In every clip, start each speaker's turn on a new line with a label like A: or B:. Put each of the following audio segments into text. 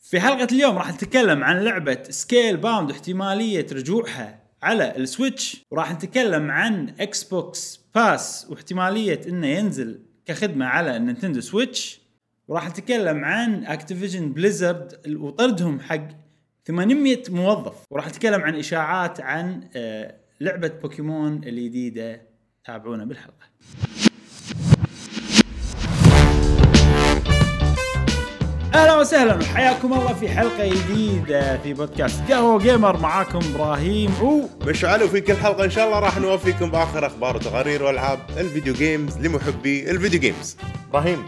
A: في حلقة اليوم راح نتكلم عن لعبة سكيل باوند واحتمالية رجوعها على السويتش وراح نتكلم عن اكس بوكس باس واحتمالية انه ينزل كخدمة على النينتندو سويتش وراح نتكلم عن اكتيفيجن بليزرد وطردهم حق 800 موظف وراح نتكلم عن اشاعات عن آه، لعبة بوكيمون الجديدة تابعونا بالحلقة اهلا وسهلا حياكم الله في حلقة جديدة في بودكاست قهوة جيمر معاكم ابراهيم و
B: مشعل وفي كل حلقه ان شاء الله راح نوفيكم باخر اخبار وتقارير والعاب الفيديو جيمز لمحبي الفيديو جيمز
C: ابراهيم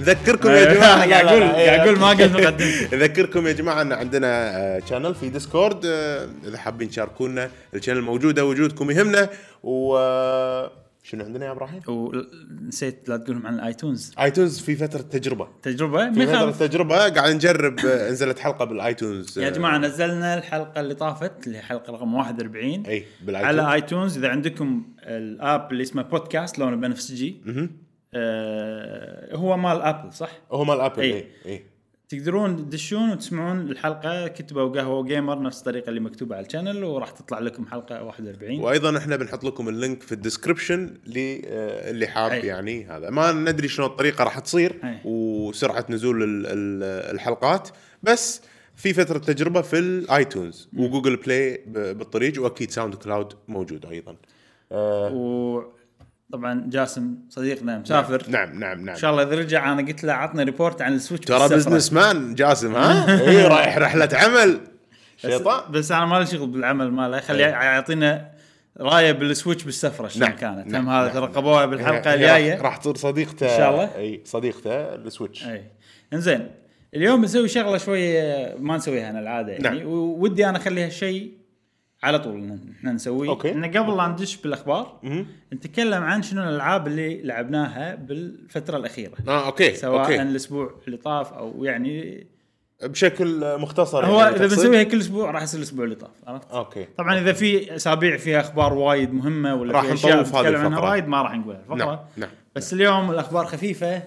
B: نذكركم يا جماعه
A: قاعد اقول
C: لا،
A: قاعد اقول ما قلت مقدمتي
B: نذكركم يا جماعه ان عندنا شانل في ديسكورد آه، اذا حابين تشاركونا الشانل موجوده وجودكم يهمنا و آه، شنو عندنا يا ابراهيم؟
A: ونسيت لا تقولهم عن الايتونز
B: ايتونز في فتره تجربه
A: تجربه
B: في
A: ما
B: فتره
A: يخالف.
B: تجربه قاعد نجرب آه، نزلت حلقه بالايتونز
A: يا
B: آه،
A: جماعه نزلنا الحلقه اللي طافت اللي هي حلقه رقم 41
B: اي بالايتونز
A: على ايتونز اذا عندكم الاب اللي اسمه بودكاست لونه بنفسجي آه هو مال ابل صح؟
B: هو مال إيه، ابل
A: إي.
B: اي اي
A: تقدرون تدشون وتسمعون الحلقه كتبوا قهوه جيمر نفس الطريقه اللي مكتوبه على الشانل وراح تطلع لكم حلقه 41
B: وايضا احنا بنحط لكم اللينك في الديسكربشن اللي آه، اللي حاب
A: أي.
B: يعني هذا ما ندري شنو الطريقه راح تصير
A: أي.
B: وسرعه نزول ال- ال- الحلقات بس في فتره تجربه في الايتونز وجوجل بلاي ب- بالطريق واكيد ساوند كلاود موجود ايضا
A: وطبعا جاسم صديقنا مسافر
B: نعم نعم نعم
A: ان شاء الله اذا رجع انا قلت له عطنا ريبورت عن السويتش
B: ترى
A: بالسفرة.
B: بزنس مان جاسم ها اي رايح رحله عمل
A: بس-
B: شيطان
A: بس انا ما لي شغل بالعمل ماله خليه
B: إيه.
A: يعطينا رايه بالسويتش بالسفره شلون
B: نعم،
A: كانت
B: نعم،
A: هم هذا
B: نعم.
A: ترقبوها بالحلقه
B: هي- هي راح-
A: الجايه
B: راح تصير صديقته
A: إن شاء الله.
B: اي صديقته السويتش
A: اي انزين إيه. اليوم بنسوي شغله شويه ما نسويها انا العاده يعني
B: نعم.
A: ودي انا اخليها شيء على طول إن احنا نسويه
B: أوكي.
A: ان قبل لا ندش بالاخبار
B: مهم.
A: نتكلم عن شنو الالعاب اللي لعبناها بالفتره الاخيره
B: اه اوكي
A: سواء
B: اوكي
A: الاسبوع اللي طاف او يعني
B: بشكل مختصر
A: هو
B: يعني
A: اذا
B: تقصد؟
A: بنسويها كل اسبوع راح يصير الاسبوع اللي طاف عرفت؟
B: اوكي
A: طبعا اذا في اسابيع فيها اخبار وايد مهمه ولا
B: راح
A: في اشياء
B: نطوف هذه
A: نتكلم عنها
B: الفقرة.
A: وايد ما راح نقولها الفقره
B: نعم نعم
A: بس اليوم الاخبار خفيفه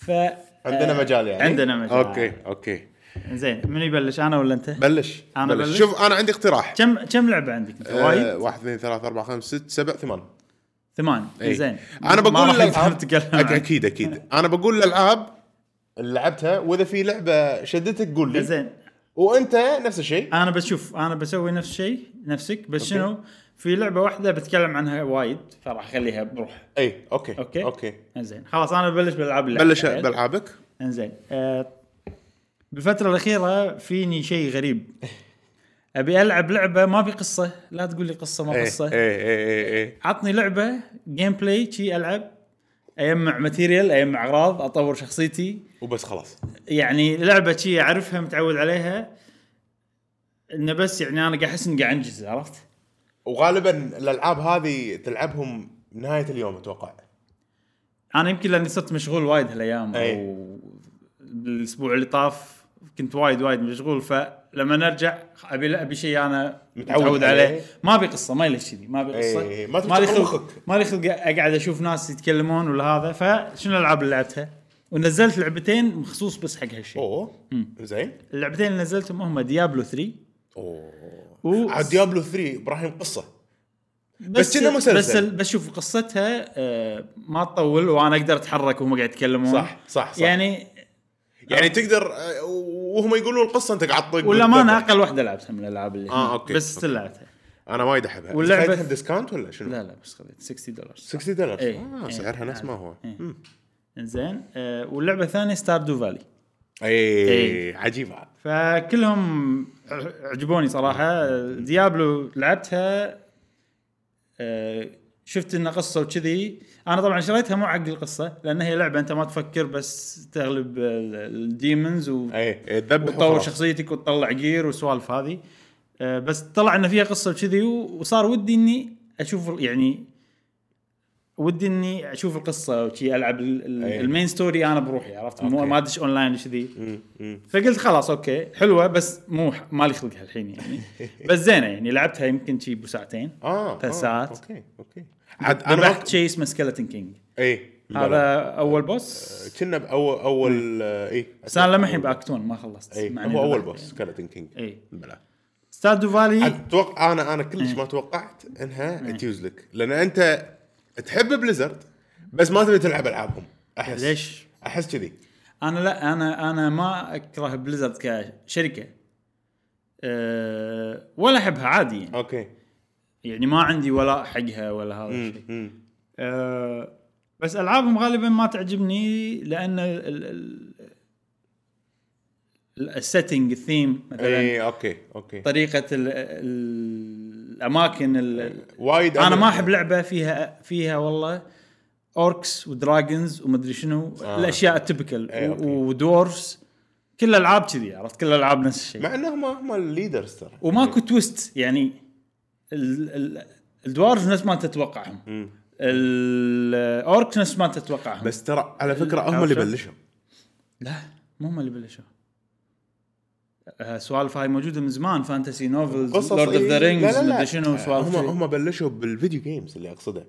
A: ف
B: عندنا
A: آه،
B: مجال يعني
A: عندنا مجال
B: اوكي اوكي
A: زين من يبلش انا ولا انت؟
B: بلش
A: أنا
B: بلش.
A: بلش؟
B: شوف انا عندي اقتراح
A: كم كم لعبه عندك انت؟
B: آه،
A: وايد؟
B: واحد اثنين ثلاثة أربعة خمسة ستة سبعة ثمان
A: ثمان
B: إي.
A: زين
B: إيه. أنا
A: إيه. ما
B: بقول
A: راح نقدر
B: الألعاب
A: نتكلم
B: أك-
A: عنها.
B: أكيد أكيد أنا بقول الألعاب اللي لعبتها وإذا في لعبة شدتك قول لي
A: زين
B: وأنت نفس الشيء
A: انا بشوف انا بسوي نفس الشيء نفسك بس شنو في لعبه واحده بتكلم عنها وايد فراح اخليها بروح
B: أي إيه، أوكي
A: أوكي.
B: أوكي
A: زين خلاص انا ببلش بالالعاب اللي
B: بلش
A: عندي.
B: بألعابك
A: انزين آه، بالفترة الأخيرة فيني شيء غريب أبي ألعب لعبة ما في قصة لا تقول لي قصة ما
B: إيه
A: قصة
B: إيه إيه إيه إيه
A: عطني لعبة جيم بلاي شي ألعب أجمع ماتيريال أجمع أغراض أطور شخصيتي
B: وبس خلاص
A: يعني لعبة شي أعرفها متعود عليها إنه بس يعني أنا قاعد أحس إني قاعد أنجز عرفت؟
B: وغالبا الألعاب هذه تلعبهم نهاية اليوم أتوقع
A: أنا يمكن لأني صرت مشغول وايد هالأيام
B: إيه.
A: أو الأسبوع اللي طاف كنت وايد وايد مشغول فلما نرجع أبي ابي شيء أنا
B: متعود
A: متعود
B: عليه.
A: عليه ما ابي قصه ما لي كذي ما ابي قصه
B: إيه، ما تبي
A: ما لي
B: تشغل
A: خلق
B: مخك.
A: ما لي خلق اقعد اشوف ناس يتكلمون ولا هذا فشنو الالعاب اللي لعبتها؟ ونزلت لعبتين مخصوص بس حق هالشيء
B: أوه زين
A: اللعبتين اللي نزلتهم هم ديابلو 3
B: أوه
A: و
B: عاد ديابلو 3 إبراهيم قصة
A: بس
B: كأنه مسلسل.
A: بس, ال- بس شوف قصتها آه، ما تطول وانا اقدر اتحرك وهم قاعد يتكلمون
B: صح صح صح
A: يعني
B: يعني تقدر آه، وهم يقولون القصه انت قاعد تطق
A: ولا ما انا
B: بالدبر.
A: اقل واحده لعبتها من الالعاب اللي
B: آه، أوكي،
A: بس
B: أوكي.
A: still لعبتها
B: انا وايد احبها
A: واللعبة-
B: واللعبه ديسكاونت ولا شنو؟
A: لا لا بس خذيت 60 دولار
B: 60 دولار
A: إيه،
B: آه
A: إيه،
B: سعرها نفس
A: هذا.
B: ما هو
A: إيه.
B: مم.
A: انزين آه، واللعبه الثانيه ستاردو فالي إيه.
B: اي عجيبه
A: فكلهم عجبوني صراحه ديابلو لعبتها آه، شفت انها قصه وكذي انا طبعا شريتها مو حق القصه لان هي لعبه انت ما تفكر بس تغلب الديمونز
B: اي تذبح
A: وتطور
B: وخلاص.
A: شخصيتك وتطلع جير وسوالف هذه آه، بس طلع ان فيها قصه وكذي و- وصار ودي اني اشوف يعني ودي اني اشوف القصه وشي العب ال- ال-
B: أي.
A: المين ستوري انا بروحي عرفت مو
B: أوكي.
A: ما ادش اونلاين وكذي
B: مم، مم.
A: فقلت خلاص اوكي حلوه بس مو مالي خلقها الحين يعني بس زينه يعني لعبتها يمكن شي بساعتين
B: اه آه،
A: ثلاث ساعات.
B: اوكي اوكي عاد
A: عاد انا
B: انا
A: رحت شيء اسمه سكeleton كينج
B: اي لا،
A: هذا اول بوس
B: كنا باول اول اي
A: بس انا لمحي باكتون ما إيه. خلصت
B: اي
A: مع إني
B: إيه. هو اول
A: لمحي.
B: بوس سكلتن كينج
A: اي
B: بلا
A: ستاردو فالي
B: اتوقع انا انا
A: إيه.
B: كلش ما توقعت انها تيوز لك لان انت تحب بليزرد بس ما تبي تلعب العابهم احس
A: ليش؟
B: احس كذي
A: انا لا انا انا ما اكره بليزرد كشركه أه ولا احبها عادي يعني.
B: اوكي
A: يعني ما عندي ولاء حقها ولا هذا الشيء
B: مم.
A: أه بس العابهم غالبا ما تعجبني لان ال- ال- ال- السيتنج الثيم مثلا
B: اي اوكي اوكي
A: طريقه ال- ال- الاماكن ال-
B: وايد
A: انا ما احب لعبه فيها فيها والله اوركس ودراجونز ومدري شنو آه.
B: آه.
A: الاشياء التبكل
B: إيه، أوكي.
A: ودورفز كل الالعاب كذي عرفت كل الالعاب نفس الشيء
B: مع انهم هم الليدرز ترى
A: وماكو
B: إيه.
A: تويست يعني ال- ال- الدوارف نفس ما تتوقعهم
B: مم.
A: الاوركس نفس ما تتوقعهم بس
B: بس ترى على فكره هم اللي
A: عرفت؟
B: بلشوا
A: لا مو هم اللي بلشوا آه، سوالف هاي موجوده من زمان فانتسي نوفلز لورد اوف ذا
B: إيه، لا،
A: رينجز
B: لا، لا.
A: مدري شنو سوالف
B: هم
A: كذي.
B: هم بلشوا بالفيديو جيمز اللي اقصده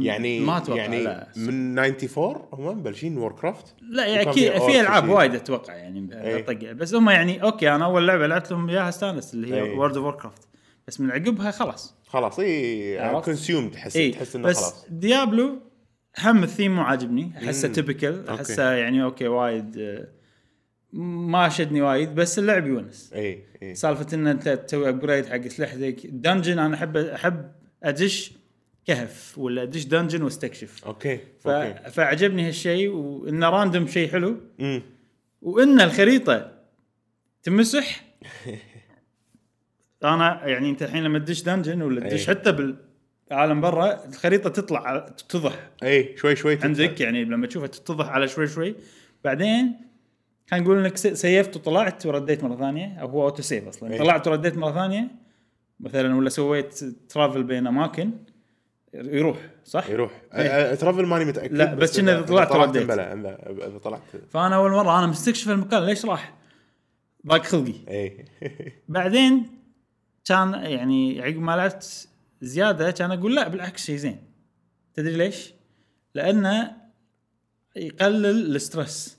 B: يعني
A: ما أتوقع،
B: يعني
A: لا.
B: من 94 هم مبلشين وور كرافت
A: لا
B: وكان
A: يعني اكيد
B: أوركس
A: في العاب
B: وشي.
A: وايد اتوقع يعني
B: إيه.
A: طقع بس هم يعني اوكي انا اول لعبه لعبت لهم اياها استانس اللي هي
B: إيه.
A: وورد اوف كرافت بس من عقبها خلاص
B: خلاص اي
A: عرفت؟
B: كونسيوم تحس
A: اي
B: تحس انه
A: بس
B: خلاص
A: ديابلو هم الثيم مو عاجبني احسه
B: مم.
A: تبكل
B: أوكي.
A: احسه يعني اوكي وايد آه، ما شدني وايد بس اللعب يونس
B: اي اي
A: سالفه ان انت تسوي ابجريد حق اسلحتك دنجن انا احب احب ادش كهف ولا ادش دنجن واستكشف
B: اوكي
A: ف...
B: اوكي
A: فعجبني هالشيء وانه راندوم شيء حلو
B: امم
A: وان الخريطه تمسح انا يعني انت الحين لما تدش دنجن ولا تدش
B: أي.
A: حتى بالعالم برا الخريطه تطلع على- تتضح
B: اي إيه، شوي شوي تتعب.
A: عندك يعني لما تشوفها تتضح على شوي شوي بعدين كان نقول انك س- سيفت وطلعت ورديت مره ثانيه او هو اوتو سيف اصلا
B: أي.
A: طلعت ورديت مره ثانيه مثلا ولا سويت ترافل بين اماكن يروح صح؟
B: يروح
A: إيه.
B: أ- أ- أه، ترافل ماني متاكد
A: لا، بس إنه إذا طلعت رديت.
B: بلا إلا- اذا طلعت
A: فانا اول مره انا مستكشف المكان ليش راح؟ ضاق خلقي
B: اي
A: بعدين كان يعني عقب ما لعبت زياده كان اقول لا بالعكس شيء زين تدري ليش؟ لانه يقلل الستريس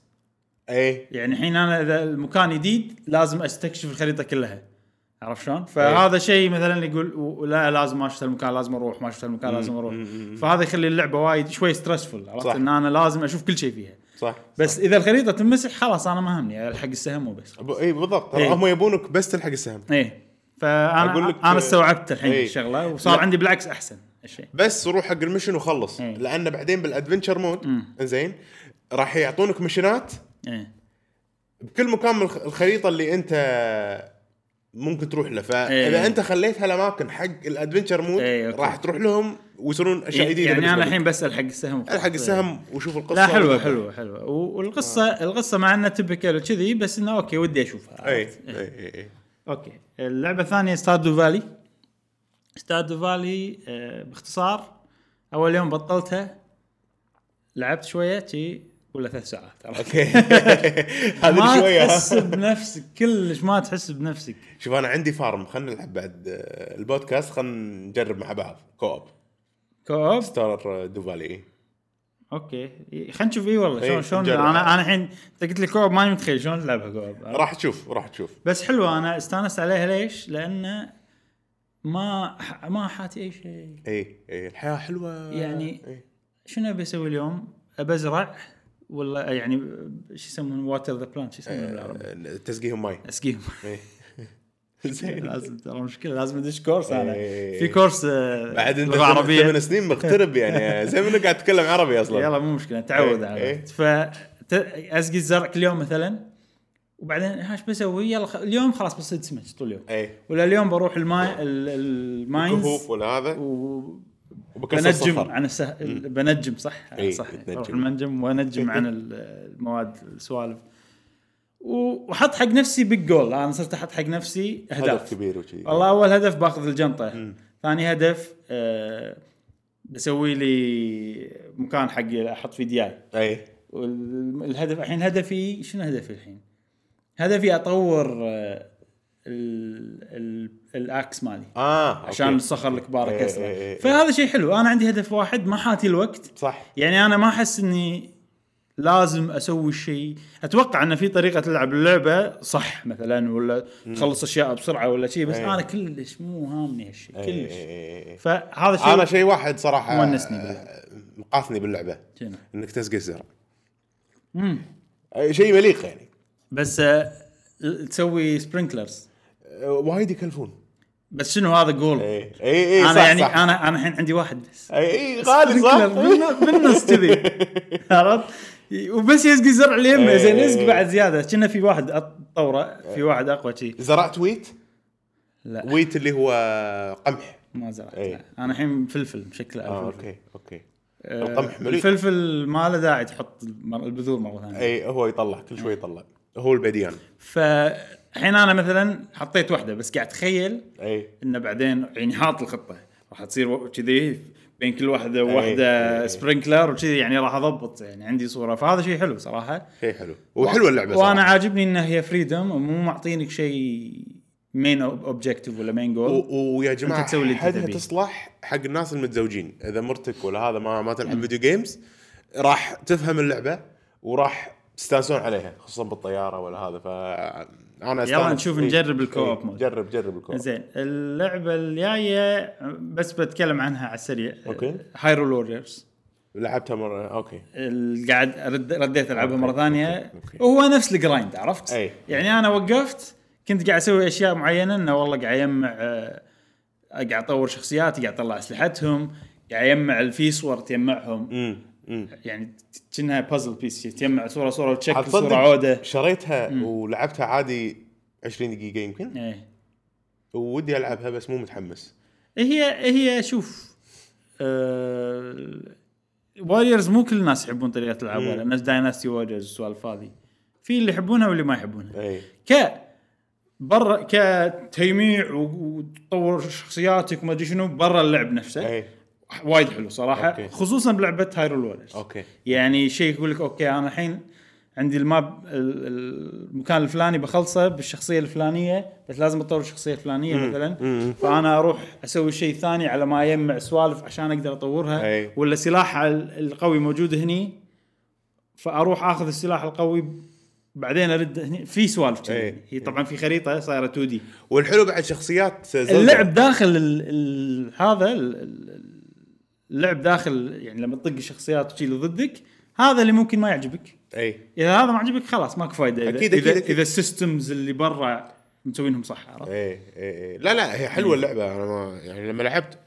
B: اي
A: يعني الحين انا اذا المكان جديد لازم استكشف الخريطه كلها عرفت
B: إيه.
A: شلون؟ فهذا شيء مثلا يقول و- لا لازم ما اشوف المكان لازم اروح ما اشوف المكان لازم اروح فهذا يخلي اللعبه وايد شوي ستريسفul عرفت
B: صح.
A: ان انا لازم اشوف كل شيء فيها
B: صح
A: بس اذا الخريطه تنمسح خلاص انا ما همني الحق السهم وبس
B: ب- اي بالضبط
A: إيه.
B: هم يبونك بس تلحق السهم
A: ايه فانا
B: أقول لك-
A: انا استوعبت الحين
B: إيه.
A: الشغله وصار
B: لا.
A: عندي بالعكس احسن الشيء
B: بس روح حق المشن وخلص
A: إيه.
B: لان بعدين بالادفنشر مود زين راح يعطونك مشنات
A: ايه
B: بكل مكان من الخ- الخريطه اللي انت ممكن تروح له
A: إيه.
B: فاذا انت خليت هالاماكن حق الادفنشر مود
A: إيه، أوكي.
B: راح تروح لهم ويصيرون اشياء جديده
A: يعني
B: بالنسبة
A: انا
B: لك.
A: الحين بسال حق السهم وخلاص.
B: الحق السهم وشوف القصه
A: إيه. لا حلوه
B: وتابع.
A: حلوه حلوه و- والقصه آه. القصه مع انها تبكل كذي بس انه اوكي ودي اشوفها
B: اي
A: عرفت؟
B: اي اي اي.
A: اوكي اللعبه الثانيه ستاردو فالي ستاردو فالي آه باختصار اول يوم بطلتها لعبت شويه شي ولا ثلاث ساعات عرفت؟
B: اوكي
A: ما
B: إيه. هذه شويه
A: تحس بنفسك كلش ما تحس بنفسك
B: شوف انا عندي فارم خلينا نلعب بعد آه، البودكاست خلينا نجرب مع بعض كوب
A: كوب
B: ستار دوفالي إيه.
A: اوكي خلينا نشوف اي والله
B: إي،
A: شلون شلون
B: إيه، نجرب.
A: انا انا الحين انت قلت لي كوب ماني متخيل شلون تلعبها كوب
B: راح تشوف راح تشوف
A: بس حلوه انا استانست عليها ليش؟ لان ما ح- ما حاتي اي شيء
B: اي اي الحياه حلوه
A: يعني-
B: إيه.
A: شنو ابي اسوي اليوم؟ ابي ازرع ولا يعني شو يسمون واتر ذا بلانت شو يسمونه بالعربي؟
B: آه، تسقيهم ماي
A: اسقيهم
B: إيه. زين
A: لازم ترى مشكله لازم ادش كورس انا
B: إي.
A: في كورس آه،
B: بعد انت
A: لغه
B: عربية
A: عربيه
B: ثمان سنين مغترب يعني زي ما انك قاعد تتكلم عربي اصلا
A: يلا مو مشكله تعود
B: طيب. إيه،
A: على
B: إيه.
A: ف اسقي الزرع كل يوم مثلا وبعدين ها ايش بسوي؟ يلا خ... اليوم خلاص بصيد سمك طول اليوم
B: اي
A: ولا اليوم بروح الماي ال- الماينز
B: كهوف إيه. ولا هذا وبكسر
A: وبنجم
B: الصخر
A: عن السه... بنجم صح؟
B: إي،
A: صح
B: بتنجم.
A: اروح المنجم وانجم عن ال- المواد السوالف و- وحط حق نفسي بيج جول انا صرت احط حق نفسي
B: هدف
A: اهداف
B: كبير وكذي
A: والله اول هدف باخذ الجنطه ثاني هدف آه بسوي لي مكان حق احط فيه دياي
B: اي
A: والهدف الحين هدفي شنو هدفي الحين؟ هدفي اطور آه، ال- ال- الاكس مالي
B: اه
A: عشان
B: أوكي.
A: الصخر الكبار
B: إيه،
A: اكسره
B: إيه، إيه،
A: فهذا شيء حلو انا عندي هدف واحد ما حاتي الوقت
B: صح
A: يعني انا ما احس اني لازم اسوي شيء اتوقع ان في طريقه تلعب اللعبه صح مثلا ولا تخلص اشياء بسرعه ولا شيء بس
B: إيه.
A: انا كلش مو هامني هالشيء
B: إيه،
A: كلش
B: إيه، إيه.
A: فهذا شيء
B: انا شيء واحد صراحه
A: مونسني
B: آه، مقاثني باللعبه
A: شنو؟
B: انك تسقي الزرع آه، شيء مليق يعني
A: بس آه، تسوي سبرينكلرز
B: آه، وايد يكلفون
A: بس شنو هذا جول
B: اي اي
A: انا
B: إيه، صح
A: يعني
B: صح.
A: انا انا الحين عندي واحد بس
B: اي اي غالي صح
A: سبرينكلر بالن- بالنص كذي عرفت وبس يسقي زرع اليمه
B: إيه.
A: زين يسقي بعد زياده كنا في واحد اطوره في واحد اقوى شي
B: إيه. زرعت ويت
A: لا
B: ويت اللي هو قمح
A: ما زرعت
B: إيه.
A: لا. انا الحين فلفل بشكله
B: اه
A: آه
B: اوكي اوكي
A: آه،
B: القمح مليء. إيه.
A: الفلفل ما له داعي تحط المر- البذور مره ثانيه
B: اي هو يطلع كل شوي يطلع هو البديان
A: فالحين انا مثلا حطيت واحده بس قاعد اتخيل
B: اي
A: انه بعدين يعني حاط الخطه راح تصير و- كذي بين كل واحده وواحده
B: إيه.
A: سبرينكلر وكذي يعني راح اضبط يعني عندي صوره فهذا شيء حلو صراحه
B: شيء حلو وحلوه اللعبه
A: وانا
B: صراحة.
A: عاجبني انها هي فريدم مو معطينك شيء مين اوبجيكتيف ولا مين جول
B: و- ويا جماعه
A: أنت تسوي اللي أنت
B: حدها
A: تبيه.
B: تصلح حق الناس المتزوجين اذا مرتك ولا هذا ما ما تلعب فيديو جيمز راح تفهم اللعبه وراح تستانسون عليها خصوصا بالطياره ولا هذا ف انا استانس.
A: نشوف
B: إي.
A: نجرب الكو-أوب
B: إي.
A: مود.
B: جرب جرب الكو
A: زين اللعبه الجايه بس بتكلم عنها على السريع
B: أوكي.
A: هايرول ووريرز
B: لعبتها مره اوكي
A: قاعد أرد رديت العبها مره
B: أوكي،
A: ثانيه
B: أوكي، أوكي.
A: وهو نفس الجرايند عرفت؟
B: أي.
A: يعني انا وقفت كنت قاعد اسوي اشياء معينه انه والله قاعد اجمع آه، قاعد اطور شخصياتي قاعد اطلع اسلحتهم قاعد اجمع الفيسور تجمعهم
B: امم امم
A: يعني ت- كأنها بازل بيس تجمع صوره صوره وتشكل صوره عوده
B: صراحه شريتها ولعبتها عادي 20 دقيقه يمكن
A: ايه
B: ودي العبها بس مو متحمس
A: هي هي شوف أه... واريرز مو كل الناس يحبون طريقه العبها نفس دايناستي واريرز والسوالف هذه في اللي يحبونها واللي ما يحبونها
B: اي
A: ك برا كتجميع و- وتطور شخصياتك وما ادري شنو برا اللعب نفسه
B: اي
A: وايد حلو صراحه
B: إيه. أوكي.
A: خصوصا بلعبه هايرول ووريرز
B: اوكي
A: يعني شيء يقول لك اوكي انا الحين عندي الماب ال- ال- المكان الفلاني بخلصه بالشخصيه الفلانيه بس لازم اطور الشخصيه الفلانيه مثلا فانا اروح اسوي شيء ثاني على ما اجمع سوالف عشان اقدر اطورها
B: أي.
A: ولا سلاح ال- القوي موجود هني فاروح اخذ السلاح القوي بعدين ارد هني في سوالف كذي.
B: أي.
A: هي طبعا في خريطه صايره 2 دي
B: والحلو بعد شخصيات زلدة.
A: اللعب داخل ال ال هذا ال- ال- اللعب داخل يعني لما تطق الشخصيات وشي اللي ضدك هذا اللي ممكن ما يعجبك
B: اي
A: اذا هذا ما عجبك خلاص ماكو فايده اذا
B: أكيد، أكيد،
A: اذا,
B: أكيد.
A: إذا السيستمز اللي برا مسوينهم صح عرفت؟
B: اي اي إي. إيه، لا لا هي حلوه اللعبه انا ما يعني لما لعبت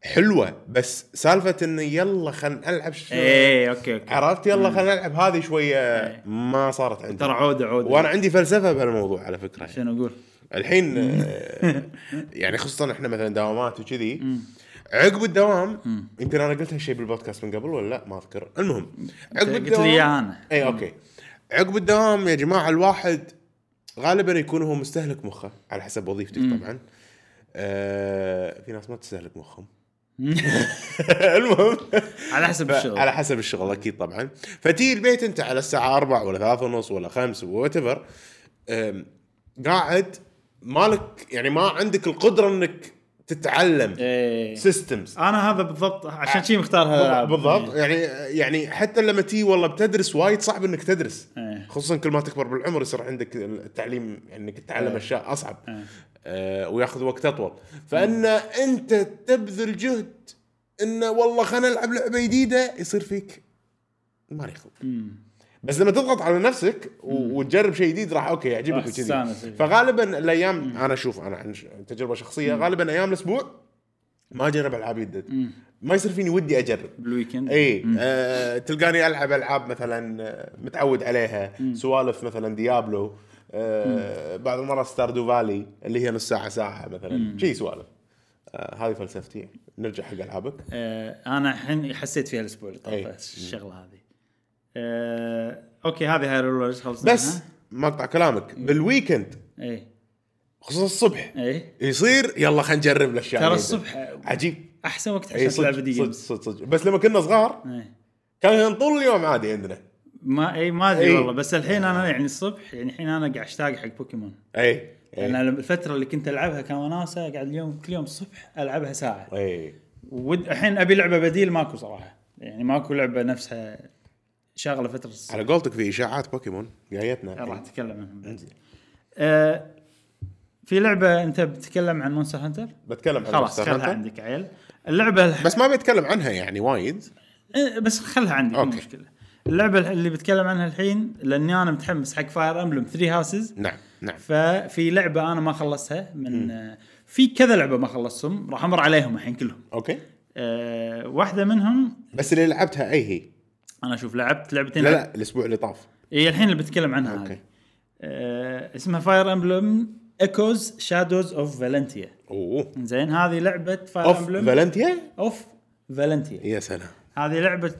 B: حلوه بس سالفه انه يلا خلينا نلعب ش-
A: ايه اوكي اوكي
B: عرفت يلا خلينا نلعب هذه شويه ما صارت عندي
A: إيه. ترى عوده عوده
B: وانا عندي فلسفه بهالموضوع على فكره
A: شنو اقول؟
B: الحين آه، يعني خصوصا احنا مثلا دوامات وكذي عقب الدوام يمكن انا قلت هالشيء بالبودكاست من قبل ولا لا ما اذكر المهم عقب
A: قلت لي إياه أنا.
B: اي اوكي إيه، عقب الدوام يا جماعه الواحد غالبا يكون هو مستهلك مخه على حسب وظيفتك طبعا آه في ناس ما تستهلك مخهم المهم
A: على حسب الشغل
B: على حسب الشغل اكيد طبعا فتي البيت انت على الساعه 4 ولا 3 ونص ولا 5 وات ايفر قاعد مالك يعني ما عندك القدره انك تتعلم
A: ايه
B: سيستمز
A: انا هذا بالضبط عشان شي مختار هذا
B: بالضبط يعني يعني حتى لما تي والله بتدرس وايد صعب انك تدرس
A: إيه.
B: خصوصا كل ما تكبر بالعمر يصير عندك التعليم يعني انك تتعلم اشياء اصعب آه، وياخذ وقت اطول فان انت تبذل جهد انه والله خلينا نلعب لعبه جديده يصير فيك ما يخلق بس لما تضغط على نفسك و- وتجرب شيء جديد راح اوكي يعجبك
A: راح
B: وكذي
A: تستانس، إيه.
B: فغالبا الايام انا اشوف انا عن ش- تجربه شخصيه غالبا ايام الاسبوع ما اجرب العاب جدد ما يصير فيني ودي اجرب
A: بالويكند
B: اي آه تلقاني العب العاب مثلا آه، متعود عليها سوالف مثلا ديابلو آه بعض المرات ستاردو فالي اللي هي نص ساعه ساعه مثلا شي سوالف آه هذه فلسفتي نرجع حق العابك
A: آه، انا الحين حسيت فيها الاسبوع اللي
B: أي.
A: طاف الشغله هذه آه، اوكي هذه هاي رولرز خلصنا إيه.
B: بس ما اقطع كلامك بالويكند
A: اي
B: خصوصا الصبح
A: اي
B: يصير يلا خلينا نجرب الاشياء
A: إيه. ترى
B: الجديدة.
A: الصبح
B: عجيب
A: احسن وقت
B: اي
A: عشان
B: يعني إيه، صدق
A: تلعب فيديو
B: صدق
A: جيمز
B: صدق صدق بس لما كنا صغار
A: إيه.
B: كان طول اليوم عادي عندنا
A: ما اي ما ادري
B: إي.
A: والله بس الحين انا يعني الصبح يعني الحين انا قاعد اشتاق حق بوكيمون
B: اي
A: يعني
B: اي
A: انا الفتره اللي كنت العبها كان وناسه قاعد اليوم كل يوم الصبح العبها ساعه
B: اي
A: ود الحين ابي لعبه بديل ماكو صراحه يعني ماكو لعبه نفسها شاغله فتره الصبح
B: على قولتك في اشاعات بوكيمون جايتنا
A: راح
B: الحين.
A: اتكلم عنهم بعدين. آه في لعبه انت بتتكلم عن مونستر هانتر
B: بتكلم عن
A: خلاص
B: Monster
A: خلها
B: Hunter.
A: عندك عيل اللعبه الح...
B: بس ما بيتكلم عنها يعني وايد
A: آه، بس خلها عندي مو
B: أوكي.
A: مشكله اللعبه الح- اللي بتكلم عنها الحين لاني انا متحمس حق فاير امبلم 3 هاوسز
B: نعم نعم
A: ففي لعبه انا ما خلصتها من آه، في كذا لعبه ما خلصتهم راح امر عليهم الحين كلهم
B: اوكي
A: أه واحده منهم
B: بس اللي لعبتها اي هي
A: انا اشوف لعبت لعبتين
B: لا لا الاسبوع اللي طاف
A: هي الحين اللي بتكلم عنها
B: أوكي.
A: هذه. أه اسمها فاير امبلم ايكوز شادوز اوف فالنتيا
B: اوه
A: زين هذه لعبه فاير
B: اوف
A: امبلم
B: فالنتيا
A: اوف فالنتيا
B: يا سلام
A: هذه لعبه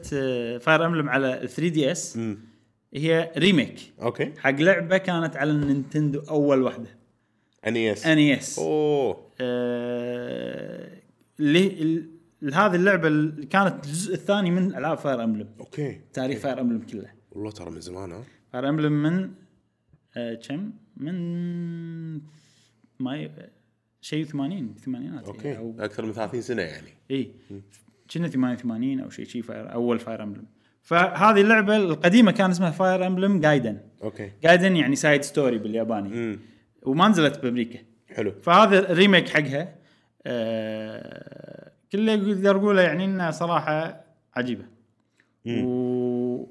A: فاير امبلم على 3 دي اس
B: مم.
A: هي ريميك
B: اوكي
A: حق لعبه كانت على النينتندو اول واحده
B: انيس
A: ان اس
B: اوه
A: آه، هذه اللعبه اللي كانت الجزء الثاني من العاب فاير امبلم
B: اوكي
A: تاريخ فاير امبلم كله
B: والله ترى من زمان ها
A: فاير امبلم من آه، كم؟ من ماي شيء يعني، 80 بالثمانينات
B: اوكي
A: او
B: اكثر من 30 سنه يعني
A: اي كنا 88 او شيء شيء فاير اول فاير امبلم فهذه اللعبه القديمه كان اسمها فاير امبلم جايدن
B: اوكي
A: جايدن يعني سايد ستوري بالياباني
B: امم
A: وما نزلت بامريكا
B: حلو
A: فهذا الريميك حقها آه كله اقدر اقوله يعني انها صراحه عجيبه و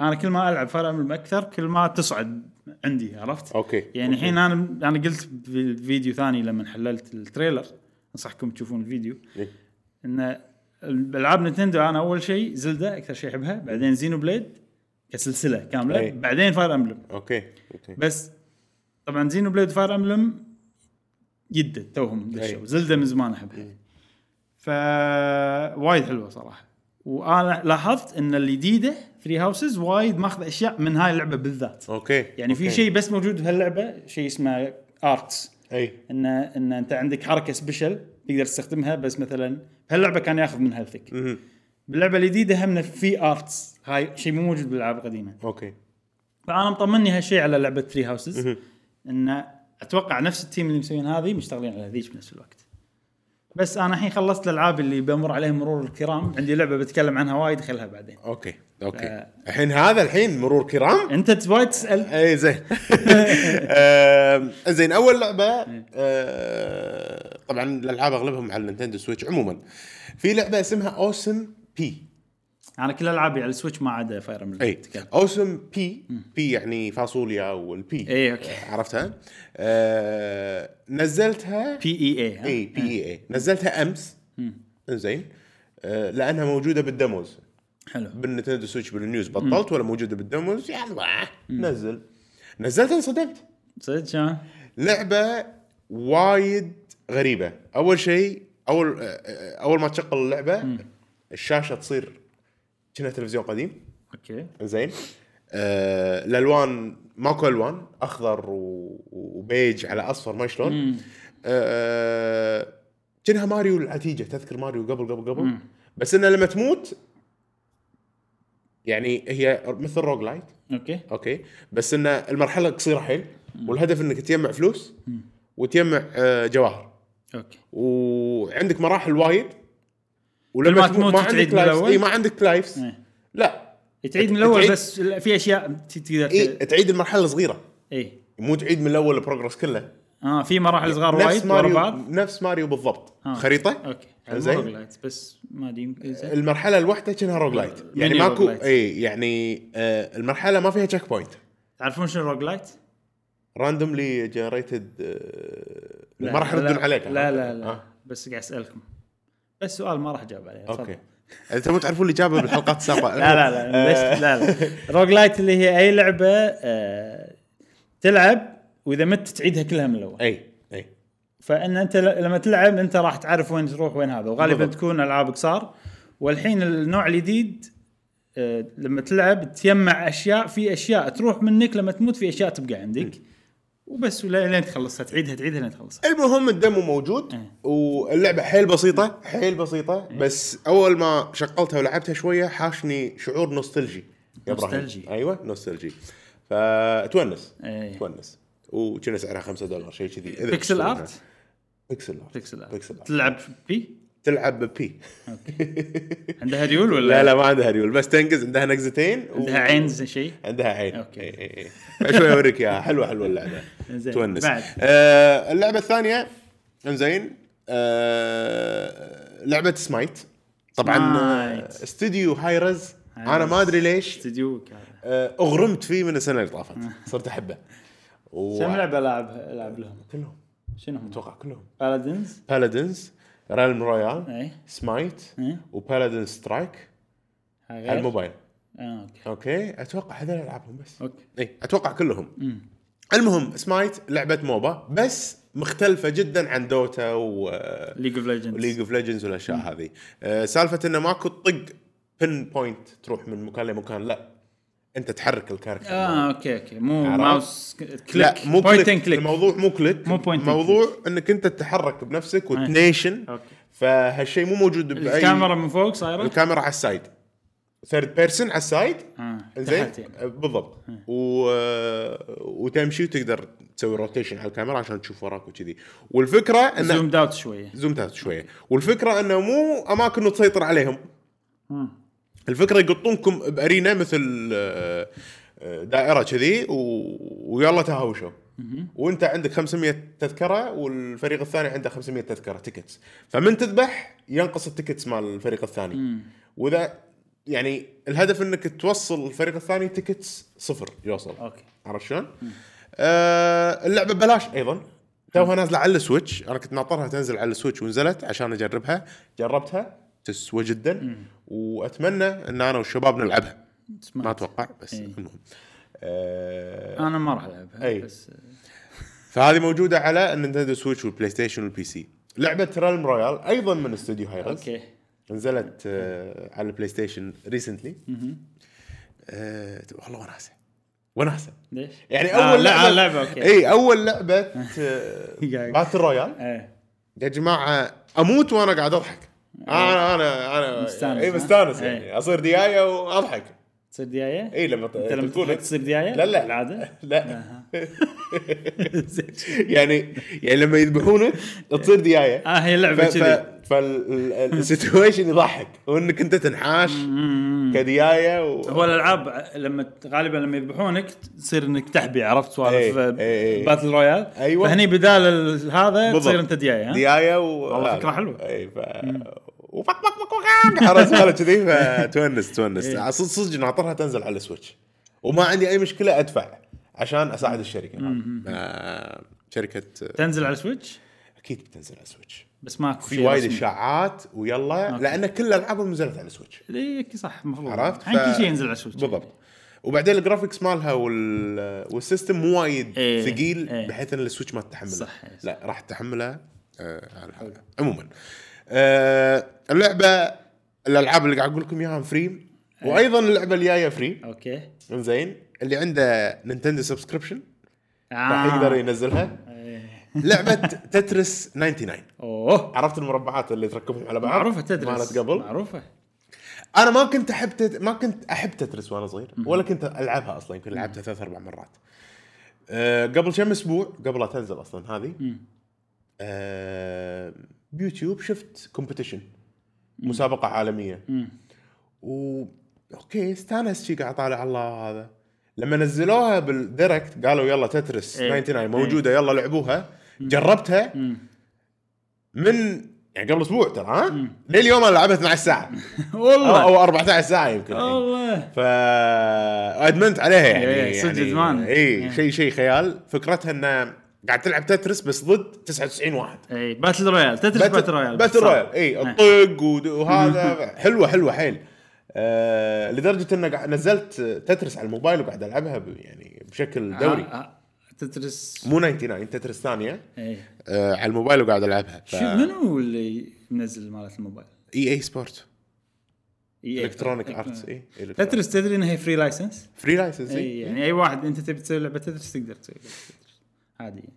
A: انا كل ما العب فاير امبلم اكثر كل ما تصعد عندي عرفت؟
B: اوكي
A: يعني الحين انا انا قلت بالفيديو ثاني لما حللت التريلر انصحكم تشوفون الفيديو
B: إيه.
A: ان العاب نتندو انا اول شيء زلدا اكثر شيء احبها بعدين زينو بليد كسلسله كامله
B: إيه.
A: بعدين فاير امبلم
B: اوكي اوكي
A: بس طبعا زينو بليد فاير امبلم جدا توهم دشوا
B: أي.
A: زلدا من زمان احبها
B: إيه.
A: ف وايد حلوه صراحه وانا لاحظت ان الجديده ثري هاوسز وايد ماخذ اشياء من هاي اللعبه بالذات
B: اوكي
A: يعني في
B: أوكي.
A: شيء بس موجود بهاللعبه شيء اسمه ارتس
B: اي
A: ان ان انت عندك حركه سبيشل تقدر تستخدمها بس مثلا بهاللعبه كان ياخذ من هيلثك
B: مهم.
A: باللعبه الجديده هم في ارتس هاي شيء مو موجود بالالعاب القديمه
B: اوكي
A: فانا مطمني هالشيء على لعبه ثري هاوسز ان اتوقع نفس التيم اللي مسوين هذه مشتغلين على ذيك بنفس الوقت بس انا الحين خلصت الالعاب اللي بمر عليهم مرور الكرام عندي لعبه بتكلم عنها وايد خلها بعدين
B: اوكي اوكي الحين هذا الحين مرور كرام
A: انت ت- وايد تسال
B: اي إيه، زين آم، زين اول لعبه آه، طبعا الالعاب اغلبهم على نينتندو سويتش عموما في لعبه اسمها اوسم بي
A: انا كل العابي على السويتش ما عدا فاير امبلم
B: اي اوسم بي بي يعني فاصوليا والبي
A: إي، أوكي.
B: عرفتها آه، نزلتها
A: بي اي اي
B: اي بي اي اي نزلتها امس زين لانها موجوده بالدموز
A: حلو
B: بالنتندو سويتش بالنيوز بطلت ولا موجوده بالدموز يلا نزل نزلتها انصدمت
A: صدق شلون؟
B: لعبه وايد غريبه اول شيء اول اول ما تشغل اللعبه الشاشه تصير كأنها تلفزيون قديم
A: اوكي
B: زين آه، الالوان ماكو الوان اخضر و- وبيج على اصفر ما شلون آه، كأنها ماريو العتيجه تذكر ماريو قبل قبل قبل بس انه لما تموت يعني هي مثل روج لايت
A: اوكي
B: اوكي بس ان المرحله قصيره حيل والهدف انك تجمع فلوس وتجمع آه، جواهر
A: اوكي
B: وعندك مراحل وايد
A: ما
B: ولما تموت
A: تموت
B: ما
A: تعيد
B: عندك
A: من
B: لايفز
A: الأول؟
B: اي ما عندك لايفز
A: إيه.
B: لا
A: تعيد من الاول
B: تعيد-
A: بس ال- في اشياء ت- تقدر
B: اي
A: ت-
B: تعيد المرحله صغيره
A: اي
B: مو تعيد من الاول البروجرس كله
A: اه في مراحل صغار
B: نفس
A: وايد ورا
B: ماريو
A: بعض
B: نفس ماريو بالضبط
A: آه.
B: خريطه
A: اوكي على
B: زين. إيه.
A: المرور لايتس، بس ما ادري يمكن زين.
B: المرحله الواحده كانها روج لايت يعني
A: ميني
B: ماكو
A: روج لايت.
B: اي يعني آه المرحله ما فيها تشيك بوينت
A: تعرفون شنو روج لايت؟
B: راندوملي جنريتد ما راح يردون آه، عليك
A: لا لا لا
B: آه.
A: بس قاعد اسالكم بس سؤال ما راح اجاوب عليه تفضل.
B: اوكي انتم يعني تعرفون اللي جابه بالحلقات آه، السابقه
A: لا لا لا ليش لا لا روج لايت اللي هي اي لعبه آه تلعب واذا مت تعيدها كلها من الاول
B: اي اي
A: فان انت ل- لما تلعب انت راح تعرف وين تروح وين هذا وغالبا
B: بالضبط.
A: تكون العاب قصار والحين النوع الجديد آه، لما تلعب تجمع اشياء في اشياء تروح منك لما تموت في اشياء تبقى
B: إيه.
A: عندك وبس ولا- لين تخلصها تعيدها تعيدها لين تخلصها
B: المهم الدمو موجود
A: إيه.
B: واللعبه حيل بسيطه حيل بسيطه بس اول ما شغلتها ولعبتها شويه حاشني شعور نوستلجي يا إبراهيم.
A: نوستالجي.
B: ايوه نوستالجي فتونس
A: إيه.
B: تونس وكنا سعرها 5 دولار شيء كذي إذا يعني؟
A: بيكسل
B: تشتريها.
A: ارت
B: بيكسل ارت
A: بيكسل
B: بيكسل
A: ارت
B: آرت.
A: تلعب
B: إيه.
A: بي
B: تلعب ببي
A: عندها ريول ولا
B: لا لا ما عندها ريول بس تنقز عندها نقزتين و...
A: عندها عين زي شيء
B: عندها عين
A: أوكي.
B: إي إي إي. بعد شوي اوريك اياها حلوه حلوه اللعبه
A: زين.
B: تونس
A: بعد.
B: آه اللعبه الثانيه انزين آه لعبه سمايت طبعا آه،
A: سمايت.
B: استديو هايرز
A: هايرز.
B: انا ما ادري ليش
A: استديوك هذا
B: آه، اغرمت فيه من السنه اللي طافت
A: آه.
B: صرت احبه و...
A: كم لعبه العب العب لهم؟
B: كلهم
A: شنو هم؟
B: اتوقع كلهم
A: بارادنز
B: بالادنز رالم رويال
A: اي
B: سمايت
A: إيه.
B: وبالادن سترايك
A: ها غير؟
B: على الموبايل
A: اه اوكي
B: اوكي اتوقع هذول العابهم بس
A: اوكي
B: اي اتوقع كلهم المهم سمايت لعبه موبا بس مختلفه جدا عن دوتا آه،
A: ليج
B: وليج
A: اوف ليجندز
B: اوف ليجندز والاشياء هذه آه، سالفه انه ماكو طق بن بوينت تروح من مكان لمكان لا انت تحرك الكاركتر
A: اه اوكي اوكي مو
B: عرفت؟
A: ماوس ك-
B: لا
A: كليك
B: مو
A: بوينت
B: كليك.
A: اند كليك
B: الموضوع مو كليك
A: مو point and click.
B: موضوع انك انت تتحرك بنفسك وتنيشن
A: أوكي.
B: فهالشيء مو موجود باي
A: الكاميرا من فوق صايره
B: الكاميرا على السايد ثيرد بيرسون على السايد
A: اه
B: زين آه،
A: تحت يعني.
B: بالضبط و... آه، وتمشي وتقدر تسوي روتيشن على الكاميرا عشان تشوف وراك وكذي والفكره انه
A: زوم داوت شويه
B: زومت اوت شويه والفكره انه مو اماكن تسيطر عليهم الفكره يقطونكم بارينا مثل آه، آه، دائره كذي و... ويلا تهاوشوا وانت عندك 500 تذكره والفريق الثاني عنده 500 تذكره تيكتس فمن تذبح ينقص التيكتس مال الفريق الثاني واذا يعني الهدف انك توصل الفريق الثاني تيكتس صفر يوصل
A: اوكي
B: عرفت شلون؟ آه اللعبه ببلاش ايضا توها نازله على السويتش انا كنت ناطرها تنزل على السويتش ونزلت عشان اجربها جربتها تسوى جدا واتمنى ان انا والشباب نلعبها ما
A: سمعت.
B: اتوقع بس
A: إي.
B: المهم آه
A: انا ما راح العبها
B: أي.
A: بس
B: فهذه موجوده على النينتندو سويتش والبلاي ستيشن والبي سي لعبه رالم رويال ايضا من استوديو هايرز
A: اوكي
B: نزلت آه على البلاي ستيشن ريسنتلي آه والله وناسه وناسه
A: ليش؟
B: يعني
A: آه،
B: اول
A: لا،
B: لعبه
A: آه، لعبه اوكي
B: اي اول لعبه آه، باتل رويال
A: ايه
B: يا جماعه اموت وانا قاعد اضحك انا انا انا
A: مستانس،
B: اي
A: ها؟
B: مستانس
A: إيه.
B: يعني اصير ديايه واضحك
A: تصير ديايه؟
B: اي لما
A: انت لما
B: تكون-
A: تكون تصير إيه؟ ديايه؟
B: إيه، لا، لا.
A: العاده؟
B: لا
A: زين.
B: يعني يعني لما يذبحونك تصير ديايه
A: اه هي لعبه كذي
B: فالسيتويشن يضحك وانك انت تنحاش كديايه و...
A: هو الالعاب لما ت- غالبا لما يذبحونك تصير انك تحبي عرفت سوالف
B: إيه، إيه، إيه.
A: باتل رويال
B: أيوة.
A: فهني بدال ال- هذا
B: بالضبط.
A: تصير انت ديايه ها؟
B: ديايه و
A: والله فكرة حلوة.
B: اي ف وبق بق بق بق عرفت سوالف كذي فتونس تونس
A: إيه.
B: صدق صدق ناطرها تنزل على السويتش وما عندي اي مشكله ادفع عشان اساعد الشركه آه، شركه
A: تنزل على سويتش
B: اكيد بتنزل على السويتش
A: بس ماكو
B: في
A: شيء
B: وايد
A: رسمي.
B: اشاعات ويلا لان كل العابهم نزلت على السويتش
A: اي صح المفروض
B: عرفت؟
A: الحين
B: ف-
A: كل شيء ينزل على سويتش
B: بالضبط وبعدين الجرافكس مالها وال... والسيستم مو وايد
A: إيه،
B: ثقيل
A: إيه.
B: بحيث ان السويتش ما تتحمله
A: صح، إيه، صح.
B: لا راح تتحمله آه على الحلقة. عموما آه اللعبه الالعاب اللي قاعد اقول لكم اياها
A: إيه.
B: فري وايضا اللعبه الجايه فري
A: اوكي
B: زين اللي عنده نينتندو سبسكريبشن راح
A: آه. إيه.
B: يقدر ينزلها لعبه تترس 99
A: اوه
B: عرفت المربعات اللي تركبهم على بعض
A: معروفه آه، تدرس
B: مالت قبل
A: معروفه
B: انا ما كنت احب تت... ما كنت احب تترس وانا صغير ولا كنت العبها اصلا يمكن لعبتها ثلاث اربع مرات أه قبل كم اسبوع قبل لا تنزل اصلا هذه أه بيوتيوب شفت كومبetition مسابقه عالميه و اوكي استانس شي قاعد اطالع الله هذا لما نزلوها بالديركت قالوا يلا تترس
A: إيه.
B: 99 موجوده يلا لعبوها جربتها من يعني قبل اسبوع ترى ها لليوم انا لعبها 12 ساعه
A: والله
B: او 14 ساعه يمكن الحين.
A: والله
B: فادمنت عليها يعني
A: إيه، صدق
B: يعني
A: إدمان. إيه.
B: اي شيء شيء خيال فكرتها انه قاعد تلعب تترس بس ضد 99 واحد
A: اي باتل رويال إيه، تدرس باتل رويال
B: باتل
A: صح. إيه.
B: رويال اي إيه، الطق ود- وهذا حلوه حلوه حيل آه لدرجه انه قاعد- نزلت تترس على الموبايل وقاعد العبها ب- يعني بشكل دوري
A: آه، آه، تدرس
B: مو 99 تترس ثانيه
A: اي
B: آه على الموبايل وقاعد العبها
A: شو منو اللي منزل مالت الموبايل؟ إيه،
B: اي اي سبورت
A: EA.
B: الكترونيك ارتس اي
A: تترس تدري انها هي فري لايسنس؟
B: فري لايسنس
A: اي يعني اي واحد انت تبي تسوي لعبه تترس تقدر تسوي لعبه تترس عادي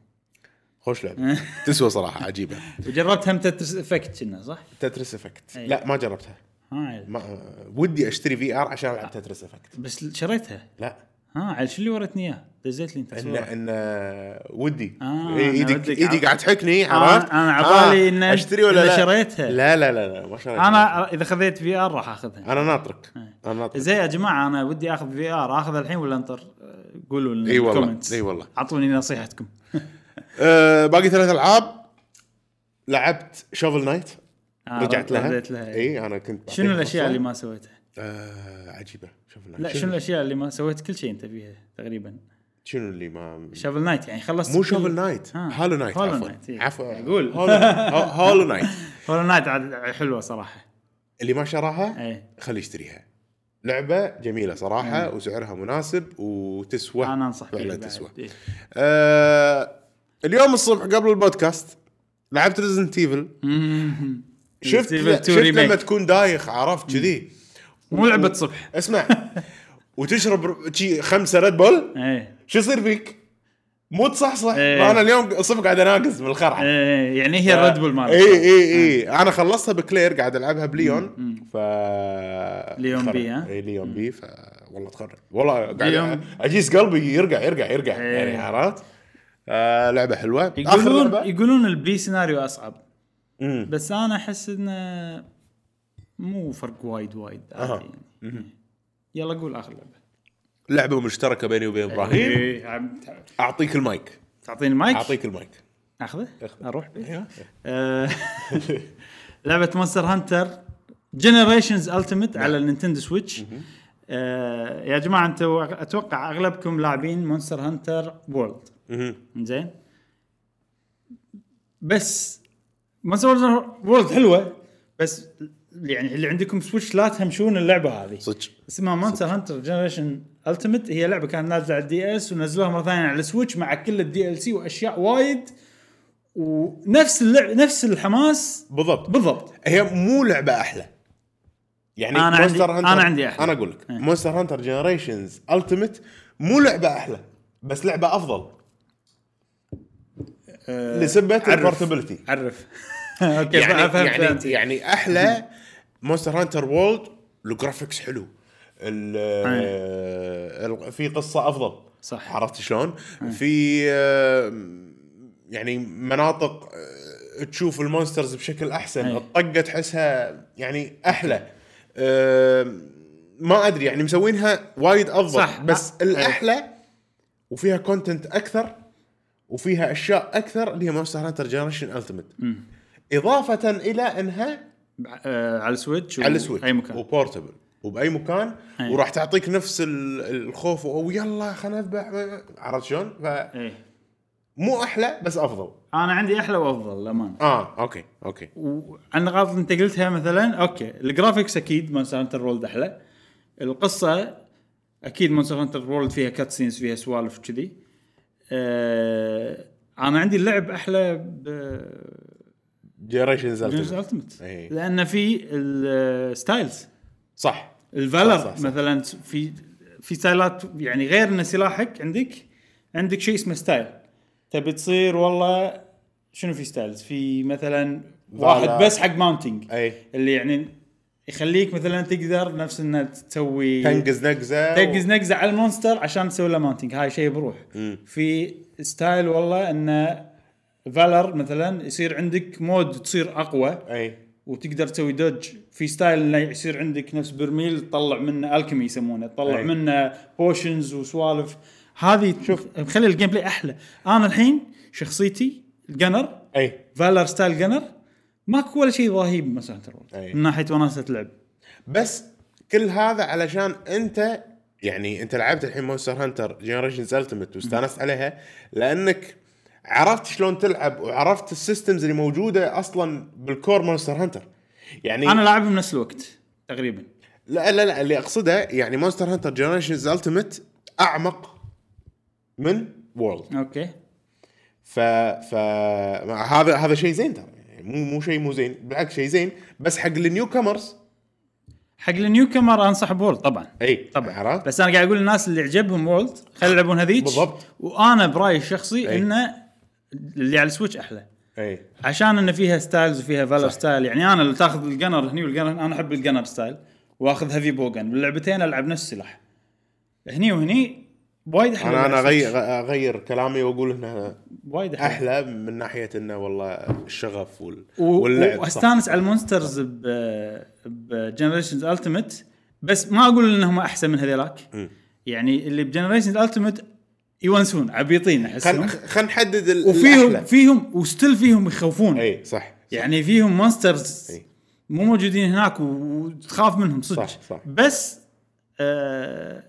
B: خوش لعبه تسوى صراحه عجيبه
A: وجربت هم تترس افكت كنا صح؟
B: تترس افكت
A: أي.
B: لا ما جربتها
A: ها
B: ما ودي اشتري في ار عشان العب تترس افكت
A: بس شريتها
B: لا
A: ها على شو اللي ورتني اياه؟ دزيت لي انت
B: ان
A: صورة.
B: ان ودي
A: آه،
B: إيه،
A: أنا
B: ايدي
A: ودك
B: ايدي
A: عرفت.
B: قاعد تحكني
A: أنا-
B: عرفت
A: أنا على
B: آه،
A: بالي إن-
B: اشتري ولا
A: إن
B: لا
A: شريتها.
B: لا لا لا لا ما شريتها
A: انا اذا خذيت في ار راح اخذها
B: انا ناطرك
A: آه.
B: انا ناطرك
A: زي يا جماعه انا ودي اخذ في ار اخذ الحين ولا انطر أه، قولوا لنا
B: إي والله،
A: بالكومنتس.
B: إي والله.
A: اعطوني نصيحتكم
B: آه، باقي ثلاث العاب لعبت شوفل نايت
A: آه،
B: رجعت لها
A: رديت لها إي.
B: اي انا كنت
A: شنو الاشياء اللي ما سويتها؟
B: آه عجيبه شوفل نايت
A: لا شنو الاشياء اللي ما سويت كل شيء انت فيها تقريبا
B: شنو اللي ما
A: شافل نايت يعني خلصت
B: مو
A: كل-
B: شوفل نايت
A: ها.
B: هالو نايت
A: هولو
B: عفوا
A: نايت، آه. إي.
B: عفوا
A: أقول.
B: هولو نايت. ه- هولو نايت
A: هولو نايت عاد حلوه صراحه
B: اللي ما شراها
A: ايه
B: خليه يشتريها لعبه جميله صراحه وسعرها مناسب وتسوى
A: انا انصح
B: فعلا
A: فيها
B: تسوى
A: بعد. إيه.
B: آه اليوم الصبح قبل البودكاست لعبت ريزنت ايفل
A: مم.
B: شفت
A: Evil 2
B: شفت لما
A: remake.
B: تكون دايخ عرفت كذي
A: مو لعبه صبح
B: اسمع وتشرب ر- شي خمسه ريد بول
A: ايه
B: شو يصير فيك؟ مو تصحصح
A: إيه.
B: انا اليوم الصبح قاعد اناقص بالخرعه
A: ايه يعني هي
B: آه.
A: الريد بول مالك
B: اي اي اي
A: إيه.
B: انا إيه، خلصتها بكلير قاعد العبها بليون ف
A: ليون
B: تخرب.
A: بي، ها؟
B: اي ليون بي ف والله تخرب والله قاعد
A: ليون.
B: اجيس قلبي يرجع يرجع يرجع
A: إيه.
B: يعني عرفت؟ آه لعبه حلوه اخر
A: يقولون
B: لعبه
A: يقولون البي سيناريو اصعب
B: مم.
A: بس انا احس انه مو فرق وايد وايد عادي
B: أها.
A: يعني يلا قول اخر لعبه
B: لعبه مشتركه بيني وبين ابراهيم
A: إيه، عم تع-
B: اعطيك المايك
A: تعطيني المايك
B: اعطيك المايك
A: اخذه اروح به
B: أيوة.
A: آه، لعبه مونستر هانتر جنريشنز التيمت على النينتندو سويتش آه، يا جماعه انتم اتوقع اغلبكم لاعبين مونستر هانتر وورلد
B: مهم.
A: زين بس مونستر هانتر وورلد حلوه بس يعني اللي عندكم سويتش لا تهمشون اللعبه هذه
B: صدق
A: اسمها مونستر هانتر جنريشن التيمت هي لعبه كانت نازله على الدي اس ونزلوها مره ثانيه على السويتش مع كل الدي ال سي واشياء وايد ونفس اللعب نفس الحماس
B: بالضبط
A: بالضبط
B: هي مو لعبه احلى يعني
A: أنا عندي-
B: Monster Hunter-
A: أنا عندي أحلى.
B: انا اقول لك
A: إيه.
B: مونستر هانتر جنريشنز التيمت مو لعبه احلى بس لعبه افضل
A: أه،
B: لسبه
A: عرف.
B: البورتبيلتي
A: عرف اوكي
B: يعني
A: فهمت
B: يعني
A: فهمت.
B: يعني احلى مونستر هانتر وولد الجرافكس حلو ال- ال- في قصه افضل
A: أيوة. صح. أيوة.
B: عرفت شلون؟ في آه، يعني مناطق آه، تشوف المونسترز بشكل احسن
A: أي.
B: الطقه تحسها يعني احلى آه، ما ادري يعني مسوينها وايد افضل
A: صح. أيوة.
B: بس
A: أي.
B: الاحلى وفيها كونتنت اكثر وفيها اشياء اكثر اللي هي مونستر هانتر جنريشن التيمت اضافه الى انها
A: آه، على السويتش و-
B: على السويتش
A: اي مكان
B: وبورتبل وباي مكان
A: أي.
B: وراح تعطيك نفس ال- الخوف او يلا خلينا نذبح عرفت شلون؟
A: ايه
B: فمو احلى بس افضل
A: انا عندي احلى وافضل للامانه
B: اه اوكي اوكي
A: وعن الغلط اللي انت قلتها مثلا اوكي الجرافيكس اكيد مونستر هانتر وولد احلى القصه اكيد مونستر هانتر وولد فيها كات سينز فيها سوالف كذي أه انا عندي اللعب احلى بجونز
B: جنريشن
A: التمت
B: إيه.
A: لان في الستايلز
B: صح صح،
A: الفالر
B: صح، صح.
A: مثلا في في ستايلات يعني غير ان سلاحك عندك عندك شيء اسمه ستايل تبي تصير والله شنو في ستايلز في مثلا واحد بس حق ماونتنج
B: اي
A: اللي يعني يخليك مثلا تقدر نفس انه تسوي
B: تنقز نقزه
A: تنقز نقزه على المونستر عشان تسوي له ماونتنج هاي شيء بروح في ستايل والله انه فالر مثلا يصير عندك مود تصير اقوى
B: و- اي
A: وتقدر تسوي دوج في ستايل انه يصير عندك نفس برميل تطلع منه الكيمي يسمونه تطلع
B: أي.
A: منه بوشنز وسوالف هذه شوف مخلي الجيم بلاي احلى انا الحين شخصيتي الجنر
B: اي
A: فالر ستايل جنر ماكو ولا شيء رهيب مثلا
B: أي.
A: ترى من ناحيه وناسه لعب
B: بس كل هذا علشان انت يعني انت لعبت الحين مونستر هانتر جنريشنز التيمت واستانست عليها لانك عرفت شلون تلعب وعرفت السيستمز اللي موجوده اصلا بالكور مونستر هانتر يعني
A: انا لاعبهم نفس الوقت تقريبا
B: لا لا لا اللي اقصده يعني مونستر هانتر جنريشنز التيمت اعمق من وورلد
A: اوكي
B: ف ف ما- هذا هذا شيء زين ترى يعني مو مو شيء مو زين بالعكس شيء زين بس حق النيو كامرز
A: حق النيو كامر انصح بورد طبعا
B: اي
A: طبعا
B: إيه، عرفت
A: بس انا قاعد اقول للناس اللي عجبهم وولد خلي يلعبون هذيك
B: بالضبط.
A: وانا برايي الشخصي
B: أي.
A: انه اللي على السويتش احلى
B: اي
A: عشان ان فيها ستايلز وفيها فالور
B: صح.
A: ستايل يعني انا اللي تاخذ الجنر هني والجنر انا احب الجنر ستايل واخذ هيفي بوجن باللعبتين العب نفس السلاح هني وهني وايد احلى
B: انا انا
A: بالعكس.
B: اغير اغير كلامي واقول انها
A: وايد احلى
B: احلى من ناحيه انه والله الشغف وال...
A: و-
B: واللعب صح.
A: واستانس على المونسترز ب بجنريشنز التيمت بس ما اقول انهم احسن من هذيلاك
B: مم.
A: يعني اللي بجنريشنز التيمت يونسون عبيطين
B: خل
A: احسهم
B: خل نحدد ال...
A: نعم. وفيهم
B: الأحلى.
A: فيهم وستيل فيهم يخوفون
B: اي صح
A: يعني فيهم مونسترز
B: إي.
A: مو موجودين هناك و- وتخاف منهم صدق
B: صح، صح.
A: بس آه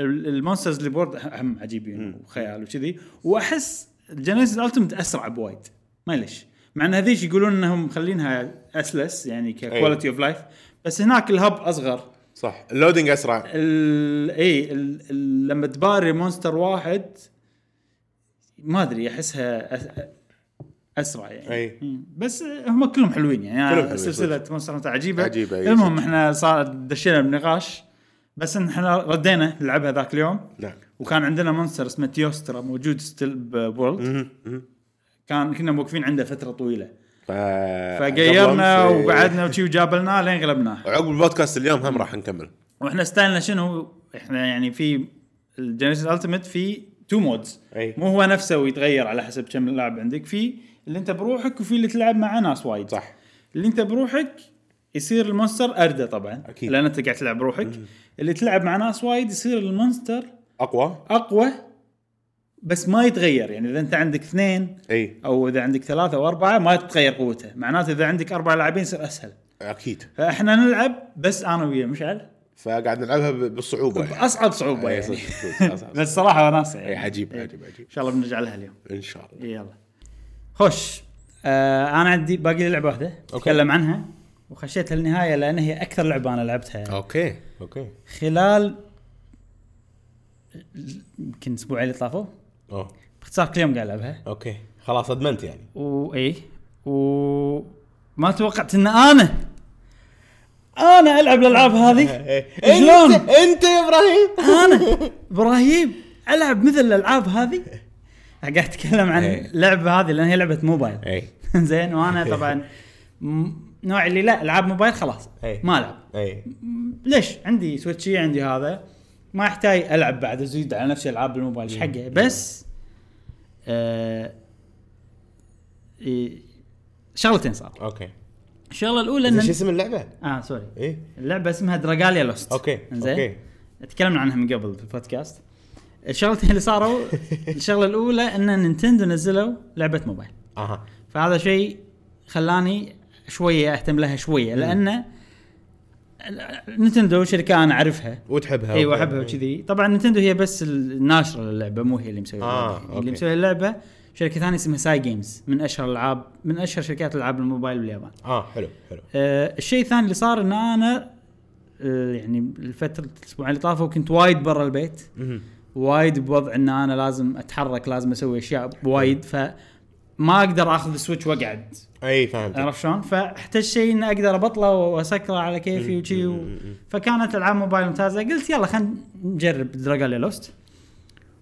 A: ال- المونسترز اللي بورد هم عجيبين وخيال وكذي واحس جينيسيس التمت اسرع بوايد ما ليش مع ان هذيش يقولون انهم مخلينها اسلس يعني ككواليتي اوف لايف بس هناك الهب اصغر
B: صح اللودينج اسرع
A: ال- اي ال- ال- لما تباري مونستر واحد ما ادري احسها أس- اسرع يعني
B: أي.
A: مم. بس هم كلهم حلوين يعني
B: كلهم
A: كلهم
B: حلوين،
A: سلسله مونستر هانتر عجيبه
B: عجيبة، أي،
A: المهم احنا صار دشينا بنقاش بس إن احنا ردينا نلعبها ذاك اليوم
B: نعم
A: وكان عندنا مونستر اسمه تيوسترا موجود ستيل بورلد
B: مهم، مهم.
A: كان كنا موقفين عنده فتره طويله
B: ف...
A: فغيرنا
B: قبل أمس- إيه.
A: وقعدنا وشي وجابلناه لين غلبناه
B: وعقب البودكاست اليوم هم راح نكمل
A: واحنا ستايلنا شنو احنا يعني في الجنريشن التيمت في تو مودز
B: أي.
A: مو هو نفسه ويتغير على حسب كم لاعب عندك في اللي انت بروحك وفي اللي تلعب مع ناس وايد
B: صح.
A: اللي انت بروحك يصير المونستر اردى طبعا
B: أكيد.
A: لان انت قاعد تلعب بروحك اللي تلعب مع ناس وايد يصير المونستر
B: اقوى
A: اقوى بس ما يتغير يعني اذا انت عندك اثنين
B: اي
A: او اذا عندك ثلاثه او اربعه ما تتغير قوته معناته اذا عندك اربع لاعبين يصير اسهل
B: اكيد
A: فاحنا نلعب بس انا ويا مشعل
B: فقاعد نلعبها ب- بالصعوبه يعني.
A: باصعب صعوبه
B: إي،
A: يعني
B: صدق، صدق، صدق.
A: بس صراحه وناسه
B: اي
A: يعني
B: عجيب عجيب عجيب
A: ان شاء الله بنرجع لها اليوم
B: ان شاء الله
A: يلا خوش آه انا عندي باقي لي لعبه واحده اتكلم عنها وخشيتها للنهايه لان هي اكثر لعبه انا لعبتها
B: اوكي اوكي
A: خلال يمكن اسبوعين اللي طافوا
B: اوه
A: باختصار كل يوم قاعد العبها
B: اوكي خلاص ادمنت يعني
A: واي وما توقعت ان انا انا العب الالعاب هذه
B: إيه.
A: شلون؟
B: انت يا ابراهيم
A: انا ابراهيم العب مثل الالعاب هذه قاعد اتكلم عن
B: إيه.
A: اللعبه هذه لان هي لعبه موبايل
B: اي
A: زين وانا طبعا م- نوع اللي لا العاب موبايل خلاص
B: إيه.
A: ما العب
B: اي
A: م- ليش عندي سويتشي عندي هذا ما احتاج العب بعد ازيد على نفسي العاب الموبايل ايش حقه بس آه إيه، شغلتين صار
B: اوكي
A: الشغله الاولى
B: زين،
A: ان
B: شو اسم إيه. اللعبه؟
A: اه سوري
B: اي
A: اللعبه اسمها دراجاليا لوست
B: أوكي، أوكي.
A: تكلمنا عنها من قبل في البودكاست الشغلتين اللي صاروا الشغله الاولى ان نينتندو نزلوا لعبه موبايل
B: اها
A: فهذا شيء خلاني شويه اهتم لها شويه لان نينتندو شركه انا اعرفها
B: وتحبها
A: ايوه
B: أوكي.
A: احبها وكذي طبعا نينتندو هي بس الناشره للعبه مو هي اللي مسويه
B: آه،
A: اللعبة.
B: أوكي.
A: اللي مسويه اللعبه شركه ثانيه اسمها ساي جيمز من اشهر العاب من اشهر شركات العاب الموبايل باليابان
B: اه حلو حلو
A: آه، الشيء الثاني اللي صار ان انا آه، يعني الفتره الاسبوعين اللي طافوا كنت وايد برا البيت وايد بوضع ان انا لازم اتحرك لازم اسوي اشياء وايد فما اقدر اخذ السويتش واقعد
B: اي إيه، فهمت
A: عرفت شلون؟ فاحتاج شيء اني اقدر ابطله واسكره على كيفي وشي و... فكانت العاب موبايل ممتازه قلت يلا خلينا نجرب دراجون لوست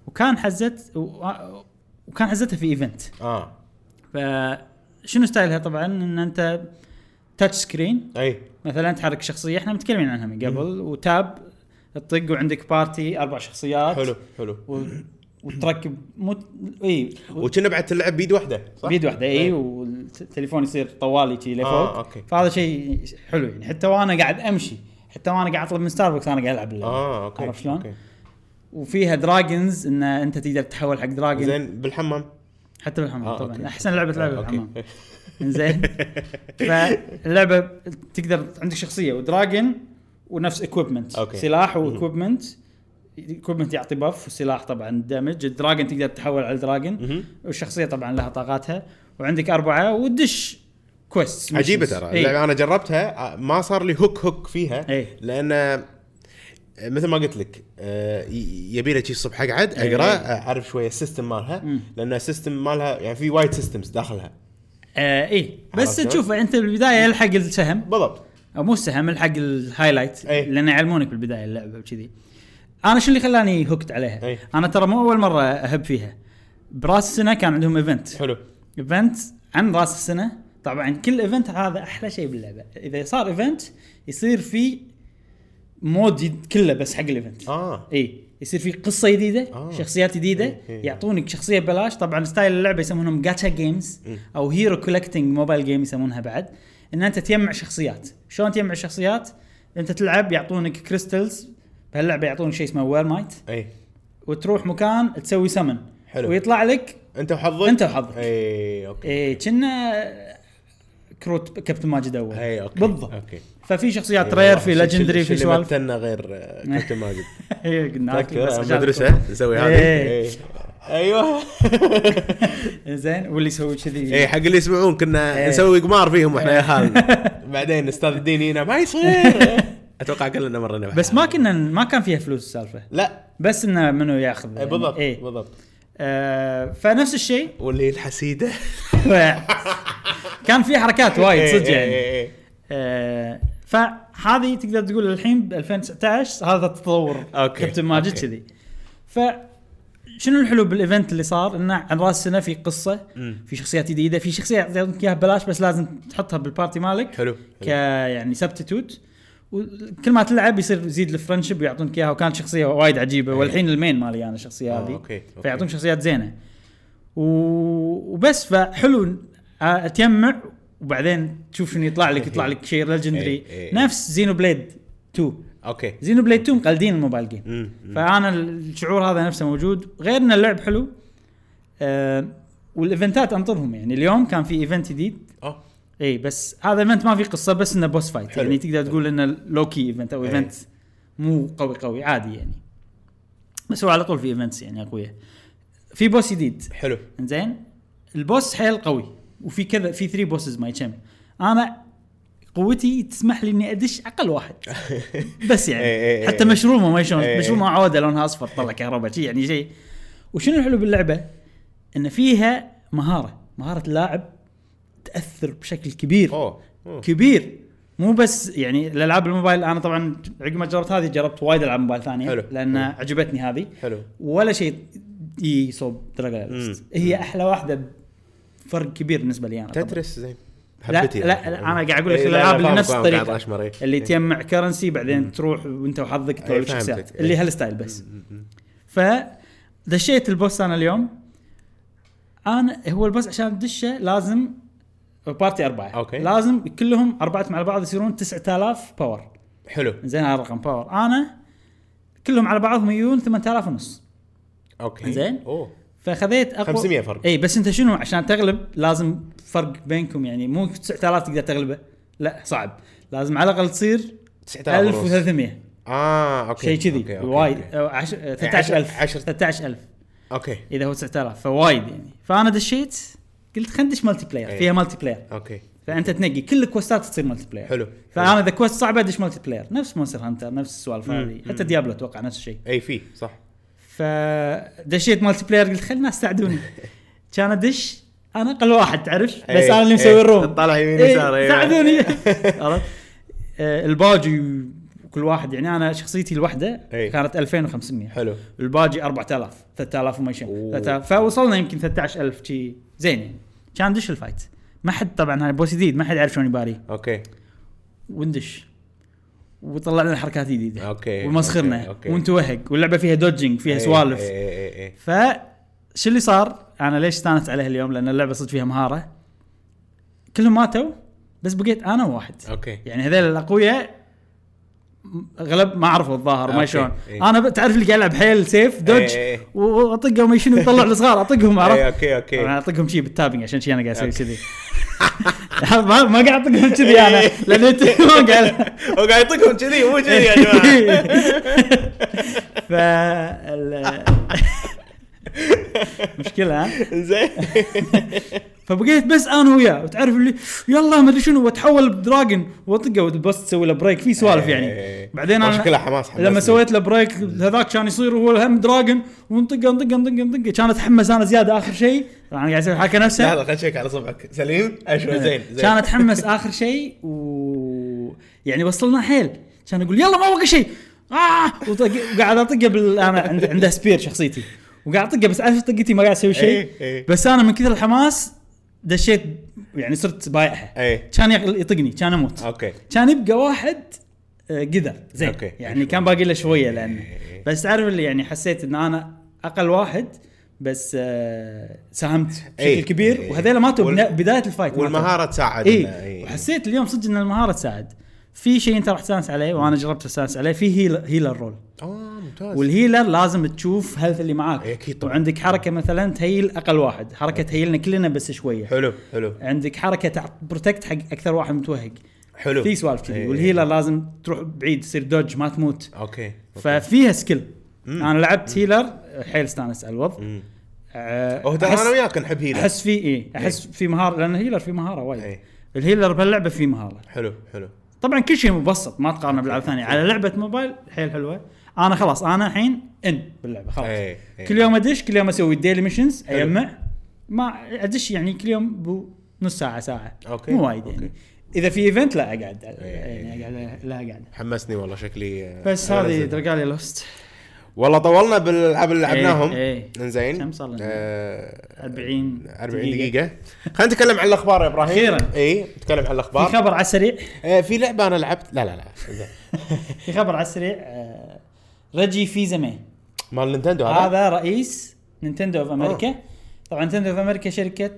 A: وكان حزت و... وكان حزتها في ايفنت
B: اه
A: فشنو ستايلها طبعا ان انت تاتش سكرين
B: اي
A: مثلا تحرك شخصيه احنا متكلمين عنها من قبل وتاب تطق وعندك بارتي اربع شخصيات
B: حلو حلو
A: و... وتركب مو إيه. اي
B: وكنا بعد تلعب بيد واحده صح؟
A: بيد واحده اي
B: إيه.
A: والتليفون يصير طوالي كذي لفوق
B: آه، أوكي.
A: فهذا شيء حلو يعني حتى وانا قاعد امشي حتى وانا قاعد اطلب من ستاربكس انا قاعد العب اللعبة.
B: اه اوكي
A: عرفت شلون؟
B: أوكي.
A: وفيها دراجونز ان انت تقدر تتحول حق دراجون
B: زين بالحمام
A: حتى بالحمام
B: آه،
A: طبعا
B: أوكي.
A: احسن لعبه تلعبها
B: آه،
A: بالحمام
B: أوكي.
A: زين فاللعبه تقدر عندك شخصيه ودراجن ونفس اكويبمنت
B: أوكي.
A: سلاح واكويبمنت اكويبمنت يعطي بف والسلاح طبعا دامج الدراجن تقدر تتحول على الدراجن
B: مهم.
A: والشخصيه طبعا لها طاقاتها وعندك اربعه ودش إيه. كويست
B: عجيبه ترى اللعبه انا جربتها آه، ما صار لي هوك هوك فيها
A: إيه.
B: لان آه، مثل ما قلت لك آه، ي- يبي لك شي الصبح اقعد
A: إيه.
B: اقرا اعرف شويه السيستم مالها لان السيستم مالها يعني في وايد سيستمز داخلها
A: آه اي بس
B: عرفت؟
A: تشوف انت بالبدايه الحق السهم
B: بالضبط
A: او مو السهم الحق الهايلايت
B: أي.
A: لان يعلمونك بالبدايه اللعبه وكذي انا شو اللي خلاني هوكت عليها
B: أي.
A: انا ترى مو اول مره اهب فيها براس السنه كان عندهم ايفنت
B: حلو
A: ايفنت عن راس السنه طبعا كل ايفنت هذا احلى شيء باللعبه اذا صار ايفنت يصير في مود جد- كله بس حق الايفنت
B: اه
A: اي إيه، يصير في قصه جديده
B: آه.
A: آه. شخصيات جديده
B: إيه، إيه.
A: يعطونك شخصيه ببلاش طبعا ستايل اللعبه يسمونهم جاتشا جيمز
B: إيه.
A: او هيرو كولكتنج موبايل جيم يسمونها بعد ان انت تجمع شخصيات شلون تجمع شخصيات انت تلعب يعطونك كريستلز بهاللعبه يعطونك شيء اسمه وير مايت
B: اي
A: وتروح مكان تسوي سمن
B: حلو.
A: ويطلع لك
B: انت وحظك
A: أنت وحظك.
B: اي اوكي
A: إيه كنا كروت كابتن ماجد اول
B: اي اوكي
A: بالضبط
B: اوكي
A: ففي شخصيات
B: إيه،
A: رير في ليجندري في
B: سوالف
A: سوالف
B: متنا غير آه، كابتن ماجد
A: إيه، قلنا لك بس
B: تذكر
A: عشان
B: مدرسه نسوي هذه
A: إيه.
B: إيه. ايوه
A: زين واللي يسوي كذي
B: اي إيه، حق اللي يسمعون كنا
A: إيه.
B: نسوي قمار فيهم واحنا يا خالنا بعدين استاذ الدين هنا ما يصير اتوقع كلنا مرينا بحالها.
A: بس ما كنا ما كان فيها فلوس السالفه
B: لا
A: بس انه منو ياخذ
B: إيه، بالضبط
A: يعني. إيه.
B: بالضبط
A: آه فنفس الشيء
B: واللي الحسيده
A: كان في حركات وايد
B: إيه،
A: صدق
B: إيه،
A: يعني
B: إيه، إيه.
A: آه فهذه تقدر تقول الحين ب 2019 هذا التطور
B: أوكي.
A: كابتن ماجد
B: أوكي.
A: كذي ف شنو الحلو بالايفنت اللي صار انه عن راس السنه في قصه
B: مم.
A: في شخصيات جديده في شخصيه يعطونك اياها ببلاش بس لازم تحطها بالبارتي مالك
B: حلو
A: ك يعني سبتيتوت وكل ما تلعب يصير يزيد الفرنشب ويعطونك اياها وكانت شخصيه وايد عجيبه
B: إيه.
A: والحين المين مالي انا الشخصيه
B: آه،
A: هذه
B: أوكي، أوكي.
A: فيعطونك شخصيات زينه و... وبس فحلو آه، تجمع وبعدين تشوف شنو يطلع لك يطلع لك شيء ليجندري
B: إيه، إيه.
A: نفس زينو بليد 2
B: اوكي
A: زينو بليد 2 مقلدين الموبايل جيم
B: مم.
A: فانا الشعور هذا نفسه موجود غير ان اللعب حلو آه والايفنتات انطرهم يعني اليوم كان في ايفنت جديد
B: اه
A: اي بس هذا ايفنت ما في قصه بس انه بوس فايت
B: حلو.
A: يعني تقدر تقول انه لوكي ايفنت او
B: إي.
A: ايفنت مو قوي قوي عادي يعني بس هو على طول في ايفنتس يعني اقوياء في بوس جديد
B: حلو
A: زين البوس حيل قوي وفي كذا في 3 بوسز ما يشم انا قوتي تسمح لي اني ادش اقل واحد بس
B: إي إي
A: يعني
B: إي.
A: حتى مشرومه ما شلون
B: إي.
A: مشرومه عوده لونها اصفر طلع كهرباء شي يعني شيء وشنو الحلو باللعبه؟ ان فيها مهاره مهاره اللاعب تاثر بشكل كبير
B: اوه أوه.
A: كبير مو بس يعني الالعاب الموبايل انا طبعا عقب ما جربت هذه جربت وايد العاب موبايل ثانيه
B: حلو.
A: لان عجبتني هذه
B: حلو
A: ولا شيء يصوب دراجون
B: مم.
A: هي احلى واحده فرق كبير بالنسبه لي انا طبعاً.
B: تترس زين
A: لا
B: حبيتها
A: لا لا، انا قاعد اقول لك
B: إيه، لا، لا،
A: الالعاب اللي
B: فاهم،
A: نفس
B: فاهم، قاعد
A: الطريقه
B: أشمر، إيه.
A: اللي
B: إيه.
A: تجمع كرنسي بعدين تروح وانت وحظك
B: إيه،
A: تسوي شخصيات
B: فهمتك،
A: اللي
B: إيه.
A: هالستايل بس ف دشيت البوس انا اليوم انا هو البوس عشان تدشه لازم بارتي اربعه
B: أوكي.
A: لازم كلهم اربعتهم على بعض يصيرون 9000 باور
B: حلو
A: زين هذا رقم باور انا كلهم على بعضهم يجون 8000 ونص
B: اوكي
A: زين.
B: اوه
A: فخذيت اقوى
B: 500 فرق.
A: اي بس انت شنو عشان تغلب لازم فرق بينكم يعني مو 9000 تقدر تغلبه لا صعب لازم على الاقل تصير
B: 9000 ونص.
A: 1300
B: اه اوكي
A: شيء كذي
B: أوكي، أوكي،
A: وايد
B: أوكي.
A: أو عش- 13000
B: عشر-
A: 13000
B: اوكي
A: اذا هو 9000 فوايد يعني فانا دشيت قلت خلينا ندش مالتي بلاير
B: إيه.
A: فيها مالتي بلاير
B: اوكي
A: فانت تنقي كل الكوستات تصير مالتي بلاير
B: حلو.
A: فانا اذا كوست صعبه ادش مالتي بلاير نفس مونستر هانتر نفس السوالف
B: مم.
A: هذه حتى ديابلو اتوقع نفس الشيء
B: اي في صح
A: فدشيت مالتي بلاير قلت خلنا استعدوني كان ادش انا اقل واحد تعرف بس
B: إيه،
A: انا اللي
B: إيه.
A: مسوي الروم
B: طالع يمين
A: إيه،
B: يسار، إيه.
A: ساعدوني عرفت آه، الباجي كل واحد يعني انا شخصيتي الوحده
B: إيه.
A: كانت 2500
B: حلو
A: الباجي 4000 3000 وما
B: أوه.
A: شيء 3000 فوصلنا يمكن 13000 شي زين يعني كان ندش الفايت ما حد طبعا هاي بوس جديد ما حد يعرف شلون يباري
B: اوكي
A: وندش وطلع لنا حركات جديده
B: أوكي، أوكي،
A: ومسخرنا
B: أوكي.
A: ونتوهق واللعبه فيها دوجنج فيها
B: إيه،
A: سوالف
B: إيه، إيه، إيه، إيه.
A: ف شو اللي صار؟ انا ليش استانست عليها اليوم؟ لان اللعبه صدق فيها مهاره. كلهم ماتوا بس بقيت انا وواحد.
B: اوكي
A: يعني هذول الاقوياء م- غلب ما اعرفه الظاهر ما
B: أوكي.
A: شلون
B: إيه.
A: انا ب- تعرف اللي قاعد العب حيل سيف دوج
B: إيه، إيه.
A: واطقه وما شنو يطلع الصغار اطقهم
B: إيه،
A: عرفت؟
B: اوكي اوكي
A: انا اطقهم شي بالتابنج عشان شي انا قاعد اسوي
B: أوكي.
A: كذي. ما ما قاعد اطقهم كذي انا
B: إيه.
A: لان أنت ما قاعد
B: هو قاعد يطقهم كذي مو كذي إيه
A: Eh,
B: يا جماعه
A: ف ال- مشكله ها؟
B: زين
A: فبقيت بس انا وياه وتعرف اللي يلا ما ادري شنو واتحول بدراجن واطقه والبس تسوي له بريك في سوالف يعني
B: إيه.
A: بعدين
B: هو
A: انا
B: شكلها حماس حماس
A: لما سويت له بريك هذاك كان يصير هو هم دراجن ونطقه نطقه نطقه نطقه كان اتحمس انا زياده اخر شيء انا قاعد اسوي الحركه نفسها
B: لحظه خليني اشيك على صبعك سليم
A: Eh,
B: اشوف زين زين
A: إيه. كان اتحمس اخر شيء و يعني وصلنا حيل كان يقول يلا ما بقى شيء آه وطق- وقاعد اطقه بال انا عند- عنده سبير شخصيتي وقاعد اطقه بس عارف طقتي ما قاعد اسوي شيء
B: إيه، إيه.
A: بس انا من كثر الحماس دشيت يعني صرت بايعها
B: اي
A: كان يق- يطقني كان اموت
B: اوكي
A: كان يبقى واحد آه، قدر زين
B: أوكي. إيه،
A: يعني كان باقي له شويه لان بس تعرف اللي يعني حسيت ان انا اقل واحد بس آه، ساهمت بشكل
B: إيه.
A: كبير
B: إيه.
A: وهذيلا ماتوا
B: وال-
A: بنا- بدايه الفايت ماتوا.
B: والمهاره تساعد إنه-
A: اي
B: إيه.
A: وحسيت اليوم صدق ان المهاره تساعد في شيء انت راح تستانس عليه وانا جربت استانس عليه في هيل- هيلر رول
B: اه ممتاز
A: والهيلر لازم تشوف هيلث اللي معاك
B: إيه، أكيد طبعاً.
A: وعندك حركه مثلا تهيل اقل واحد حركه تهيلنا كلنا بس شويه
B: حلو حلو
A: عندك حركه تعط بروتكت حق اكثر واحد متوهق
B: حلو
A: في سوالف كذي
B: إيه.
A: والهيلر لازم تروح بعيد تصير دوج ما تموت
B: اوكي أوكي.
A: ففيها سكيل انا لعبت هيلر حيل استانس على الوضع
B: مم.
A: أه،
B: هو ترى
A: أحس-
B: انا وياك نحب هيلر
A: احس في اي احس في مهاره لان الهيلر في مهاره وايد
B: إيه.
A: الهيلر بهاللعبه في مهاره
B: حلو حلو
A: طبعا كل شيء مبسط ما تقارنه بلعبه ثانيه
B: إيه.
A: على لعبه موبايل حيل حلوه انا خلاص انا الحين ان باللعبه خلاص
B: إيه، إيه.
A: كل يوم ادش كل يوم اسوي الديلي ميشنز اجمع ما ادش يعني كل يوم بو نص ساعه ساعه
B: أوكي،
A: مو وايد
B: أوكي.
A: يعني اذا في ايفنت لا اقعد يعني
B: إيه.
A: اقعد لها قاعد
B: حمسني والله شكلي آه،
A: بس
B: أنا
A: هذه
B: لازم.
A: درجالي لوست
B: والله طولنا بالالعاب اللي لعبناهم
A: إيه.
B: انزين
A: كم صار لنا؟
B: آه،
A: 40
B: 40 دقيقة خلينا نتكلم عن الاخبار يا ابراهيم
A: أخيراً.
B: اي نتكلم عن
A: في
B: الاخبار
A: خبر على السريع
B: آه، في لعبة انا لعبت لا لا لا زين.
A: في خبر على السريع آه، رجي فيزامي
B: مال نينتندو هذا
A: هذا رئيس نينتندو اوف امريكا طبعا نينتندو اوف امريكا شركه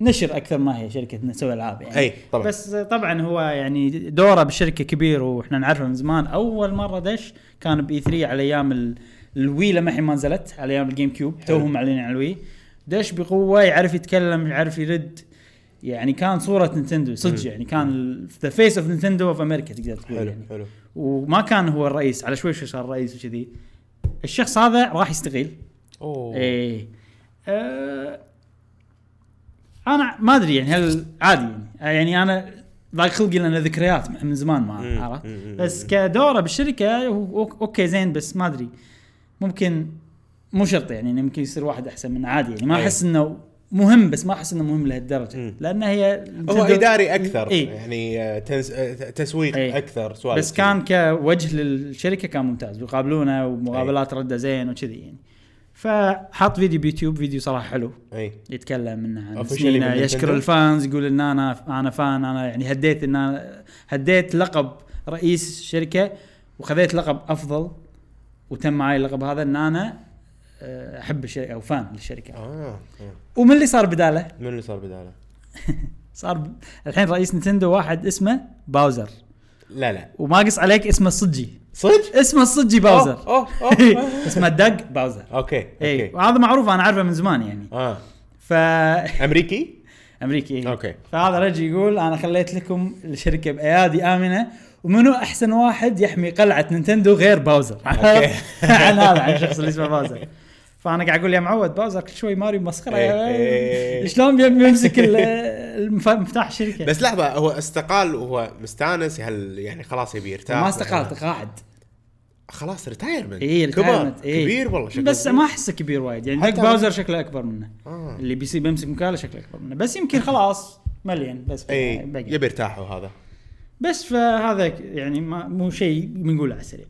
A: نشر اكثر ما هي شركه تسوي العاب يعني
B: أي، طبعاً.
A: بس طبعا هو يعني دوره بالشركه كبير واحنا نعرفه من زمان اول مره دش كان باي 3 على ايام ال- الوي لما الحين ما نزلت على ايام الجيم كيوب توهم معلنين على الوي دش بقوه يعرف يتكلم يعرف يرد يعني كان صوره نينتندو صدق يعني كان ذا فيس اوف نينتندو اوف امريكا تقدر تقول
B: حلو
A: يعني.
B: حلو
A: وما كان هو الرئيس على شوي شوي صار رئيس وكذي الشخص هذا راح يستقيل
B: اوه
A: ايه آه انا ما ادري يعني هل عادي يعني, يعني انا ضايق خلقي لان ذكريات مع- من زمان
B: مم،
A: ما عرفت
B: مم، مم،
A: بس
B: مم.
A: كدوره بالشركه هو أوك- اوكي زين بس ما ادري ممكن مو شرط يعني إنه يمكن يصير واحد احسن من عادي يعني ما
B: أي.
A: احس انه مهم بس ما احس انه مهم لهالدرجه
B: إيه. مم.
A: لان هي
B: هو اداري اكثر
A: إيه.
B: يعني آه، تنس- آه، تسويق
A: إيه.
B: اكثر سوالف
A: بس
B: كذي.
A: كان كوجه للشركه كان ممتاز بيقابلونه ومقابلات رده زين وكذي يعني فحط فيديو بيوتيوب فيديو صراحه حلو
B: اي
A: يتكلم انه عن
B: Officially
A: سنينه
B: من
A: يشكر
B: Nintendo.
A: الفانز يقول ان انا انا فان انا يعني هديت ان انا هديت لقب رئيس الشركه وخذيت لقب افضل وتم معي اللقب هذا ان انا آه، احب الشركه او فان للشركه
B: اه آه.
A: ومن اللي صار بداله؟
B: من اللي صار بداله؟
A: صار ب- الحين رئيس نتندو واحد اسمه باوزر
B: لا لا
A: وما قص عليك اسمه الصجي
B: صدق؟
A: اسمه الصجي باوزر
B: أوه، أوه.
A: اسمه داج باوزر
B: اوكي
A: اي
B: اوكي
A: وهذا معروف انا عارفه من زمان يعني
B: اه
A: ف
B: امريكي؟
A: امريكي إيه.
B: أوكي.
A: فهذا رجل يقول انا خليت لكم الشركه بايادي امنه ومنو احسن واحد يحمي قلعه نينتندو غير باوزر
B: أوكي.
A: عن هذا عن الشخص اللي اسمه باوزر فانا قاعد اقول يا معود باوزر كل شوي ماريو مسخره
B: إيه، إيه.
A: شلون بيم- بيمسك ال- المف- مفتاح الشركه
B: بس لحظة هو استقال وهو مستانس هل يعني خلاص يبي يرتاح
A: ما استقال تقاعد
B: خلاص ريتايرمنت
A: اي
B: كبر
A: retirement، إيه.
B: كبير والله شكله
A: بس ما يعني احسه كبير وايد يعني دق
B: حتى-
A: باوزر شكله اكبر منه
B: آه.
A: اللي بيصير بيمسك مكانه شكله اكبر منه بس يمكن خلاص مليان بس
B: اي
A: بقى.
B: إيه، يبي يرتاح هذا
A: بس فهذا ك- يعني ما مو شيء بنقوله على السريع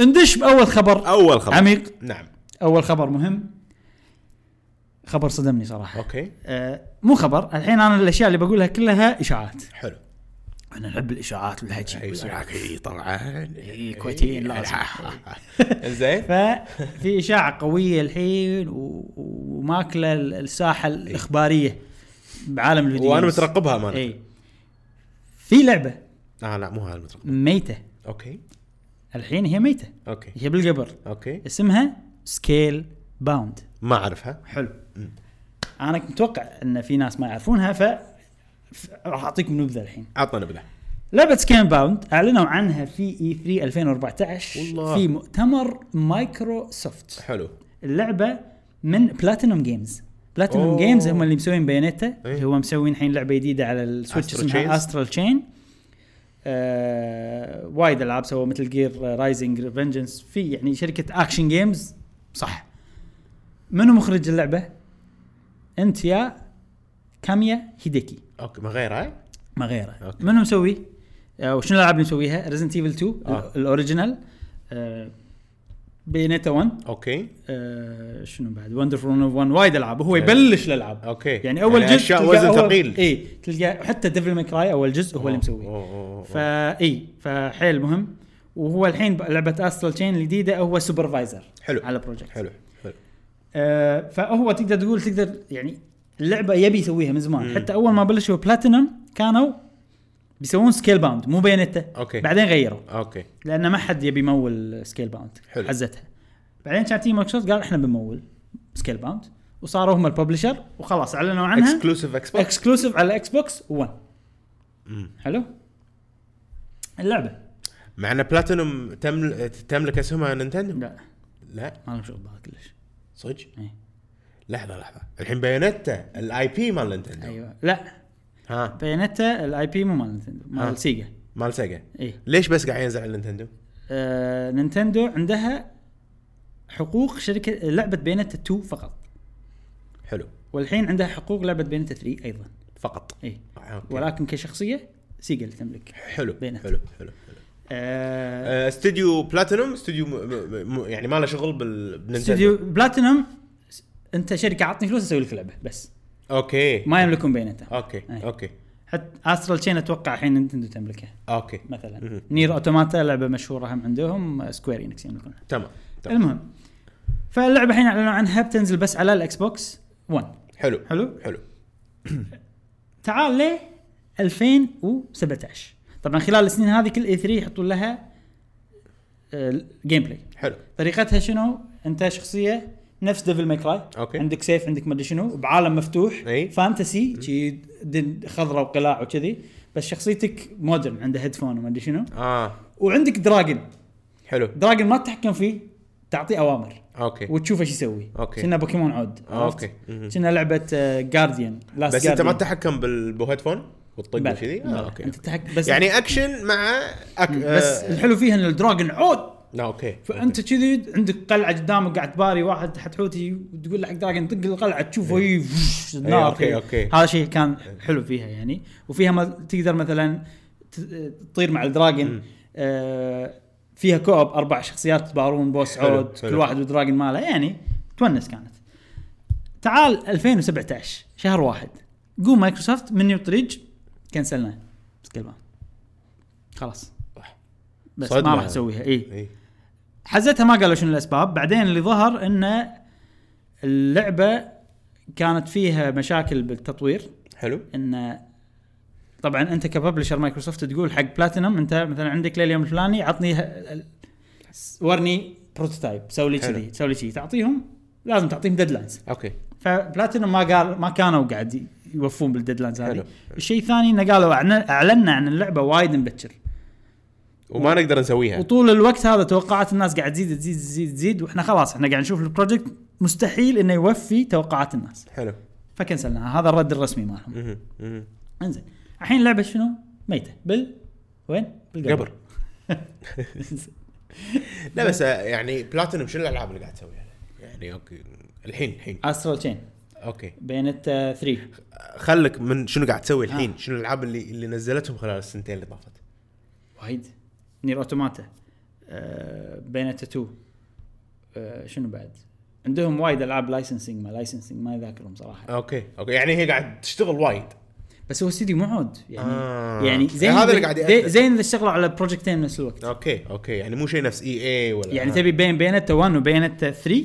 A: ندش باول خبر
B: اول خبر
A: عميق
B: نعم
A: اول خبر مهم خبر صدمني صراحه
B: اوكي
A: آه مو خبر الحين انا الاشياء اللي بقولها كلها اشاعات
B: حلو أيوة.
A: انا نحب الاشاعات
B: اي
A: والهجي
B: اي طبعا
A: إي، إيه، كويتيين
B: إيه.
A: لازم.
B: زين
A: ففي اشاعه قويه الحين و- وماكله ال- الساحه الاخباريه بعالم الفيديو
B: وانا
A: جيمز.
B: مترقبها امانه
A: اي في لعبه
B: اه لا مو هذا المترقب
A: ميته
B: اوكي
A: الحين هي ميته
B: اوكي
A: هي بالقبر
B: اوكي
A: اسمها سكيل باوند
B: ما اعرفها
A: حلو انا كنت متوقع ان في ناس ما يعرفونها ف ف- راح اعطيكم نبذه الحين
B: عطنا نبذه
A: لعبه سكيل باوند اعلنوا عنها في E اي 3 2014
B: والله.
A: في مؤتمر مايكروسوفت
B: حلو
A: اللعبه من بلاتينوم جيمز بلاتينوم
B: أوه.
A: جيمز هم اللي مسوين بايونيتا
B: إيه.
A: اللي هو مسوين الحين لعبه جديده على السويتش
B: Astral
A: اسمها
B: Chains.
A: استرال تشين آه وايد العاب سووا مثل جير رايزنج ريفنجنس في يعني شركه اكشن جيمز صح منو مخرج اللعبه؟ انت يا كاميا هيديكي
B: اوكي ما غيرها
A: ما غيره
B: أوكي.
A: منو مسوي؟ آه، وشنو الالعاب اللي مسويها؟ ريزنت ايفل 2
B: آه.
A: الاوريجينال آه، بينيتا 1
B: اوكي
A: آه شنو بعد وندرفول 1 وايد العاب
B: إيه.
A: هو يبلش الالعاب
B: اوكي
A: يعني اول جزء
B: اشياء
A: تلقى
B: وزن
A: أول-
B: ثقيل
A: اي تلقى حتى ديفل ماكراي اول جزء هو اللي مسويه
B: أوه، أوه، أوه.
A: فا اي فحيل مهم وهو الحين ب- لعبه استرال تشين الجديده هو سوبرفايزر
B: حلو.
A: على بروجكت
B: حلو حلو
A: آه فهو تقدر تقول تقدر يعني اللعبه يبي يسويها من زمان حتى اول ما بلشوا بلاتينم كانوا بيسوون سكيل باوند مو بينته
B: أوكي.
A: بعدين غيروا
B: اوكي
A: لان ما حد يبي يمول سكيل باوند
B: حلو.
A: حزتها بعدين كانت تيم شوت قال احنا بنمول سكيل باوند وصاروا هم الببلشر وخلاص اعلنوا عنها
B: اكسكلوسيف اكس بوكس
A: اكسكلوسيف على اكس بوكس 1 حلو اللعبه
B: مع ان بلاتينوم تمل... تملك اسهمها نينتندو
A: لا
B: لا
A: ما لهم شغل بها كلش
B: صدق
A: إيه.
B: لحظه لحظه الحين بايونيتا الاي بي مال نينتندو
A: ايوه لا
B: ها
A: بايونيتا الاي بي مو مال نينتندو
B: ها.
A: مال سيجا
B: مال سيجا
A: اي
B: ليش بس قاعد ينزل على نينتندو؟
A: آه نينتندو عندها حقوق شركه لعبه بايونيتا 2 فقط
B: حلو
A: والحين عندها حقوق لعبه بايونيتا 3 ايضا
B: فقط
A: اي
B: أوكي.
A: ولكن كشخصيه سيجا اللي تملك
B: حلو
A: بينت.
B: حلو حلو حلو.
A: آه
B: آه، استوديو بلاتينوم استوديو م... م... م... يعني ما له شغل بال... بنينتندو
A: استوديو بلاتينوم س- انت شركه عطني فلوس اسوي لك لعبه بس
B: اوكي
A: ما يملكون بينتا
B: اوكي
A: أي.
B: اوكي
A: حتى استرال تشين اتوقع الحين نينتندو تملكها
B: اوكي
A: مثلا
B: مهم.
A: نير اوتوماتا لعبه مشهوره هم عندهم سكوير انكس يملكونها
B: تمام تمام
A: المهم فاللعبه الحين اعلنوا عنها بتنزل بس على الاكس بوكس 1
B: حلو
A: حلو
B: حلو
A: تعال ل 2017 طبعا خلال السنين هذه كل اي 3 يحطون لها آه، جيم بلاي
B: حلو
A: طريقتها شنو؟ انت شخصيه نفس ديفل ماي كراي
B: أوكي.
A: عندك سيف عندك مدري شنو بعالم مفتوح
B: أي.
A: فانتسي شي دن خضره وقلاع وكذي بس شخصيتك مودرن عنده هيدفون ومدري شنو
B: اه
A: وعندك دراجن
B: حلو
A: دراجن ما تتحكم فيه تعطيه اوامر
B: اوكي
A: وتشوفه ايش يسوي
B: أوكي.
A: كنا بوكيمون عود
B: آه،
A: عرفت؟
B: أوكي. مهم.
A: كنا آه، لعبه جارديان
B: بس انت ما تتحكم بال- بالهيدفون وتطق وكذي
A: بلا.
B: آه، اوكي
A: انت تتحكم بس يعني
B: يعني اكشن مع أك...
A: بس
B: آه،
A: الحلو فيها ان الدراجن عود
B: لا اوكي
A: فانت كذي عندك قلعه قدامك قاعد تباري واحد حتحوتي وتقول لك دراجون طق القلعه تشوفه اي نار
B: إيه. أوكي، أوكي. إيه.
A: هذا شيء كان حلو فيها يعني وفيها ما تقدر مثلا ت- تطير مع الدراجون آه فيها كوب اربع شخصيات تبارون بوس
B: حلو،
A: عود
B: حلو.
A: كل واحد ودراجون ماله يعني تونس كانت تعال 2017 شهر واحد قوم مايكروسوفت من نيو طريج كنسلناه بس كلمه خلاص بس
B: صدمة.
A: ما راح نسويها اي
B: إيه.
A: حزتها ما قالوا شنو الاسباب بعدين اللي ظهر ان اللعبه كانت فيها مشاكل بالتطوير
B: حلو
A: ان طبعا انت كببلشر مايكروسوفت تقول حق بلاتينم انت مثلا عندك لليوم الفلاني عطني ه- ال- ورني بروتوتايب سوي لي
B: حلو.
A: كذي سوي لي كذي تعطيهم لازم تعطيهم ديدلاينز
B: اوكي
A: فبلاتينم ما قال ما كانوا قاعد ي- يوفون بالديدلاينز
B: حلو.
A: هذه الشيء الثاني انه قالوا أعلن- اعلنا عن اللعبه وايد مبكر
B: وما نقدر نسويها
A: وطول الوقت هذا توقعات الناس قاعد تزيد تزيد تزيد تزيد واحنا خلاص احنا قاعد نشوف البروجكت مستحيل انه يوفي توقعات الناس
B: حلو
A: فكنسلناها هذا الرد الرسمي مالهم
B: مهم. مهم.
A: انزين الحين اللعبه شنو؟ ميته بال وين؟
B: قبر لا بس آه، يعني بلاتينوم شنو الالعاب اللي قاعد تسويها؟ يعني اوكي الحين الحين
A: استرال تشين
B: اوكي
A: بينت 3
B: خلك من شنو قاعد تسوي الحين
A: آه.
B: شنو الالعاب اللي اللي نزلتهم خلال السنتين اللي طافت
A: وايد نير اوتوماتا بينت 2 آه، شنو بعد؟ عندهم وايد العاب لايسنسنج ما لايسنسنج ما اذاكرهم صراحه
B: اوكي اوكي يعني هي قاعد تشتغل وايد
A: بس هو استديو معود يعني
B: آه.
A: يعني زين
B: هذا اللي
A: إذا-
B: قاعد يأثر.
A: زين اذا اشتغلوا على بروجكتين بنفس الوقت
B: اوكي اوكي يعني مو شيء نفس اي اي ولا
A: يعني تبي بين بينتا 1 وبينتا 3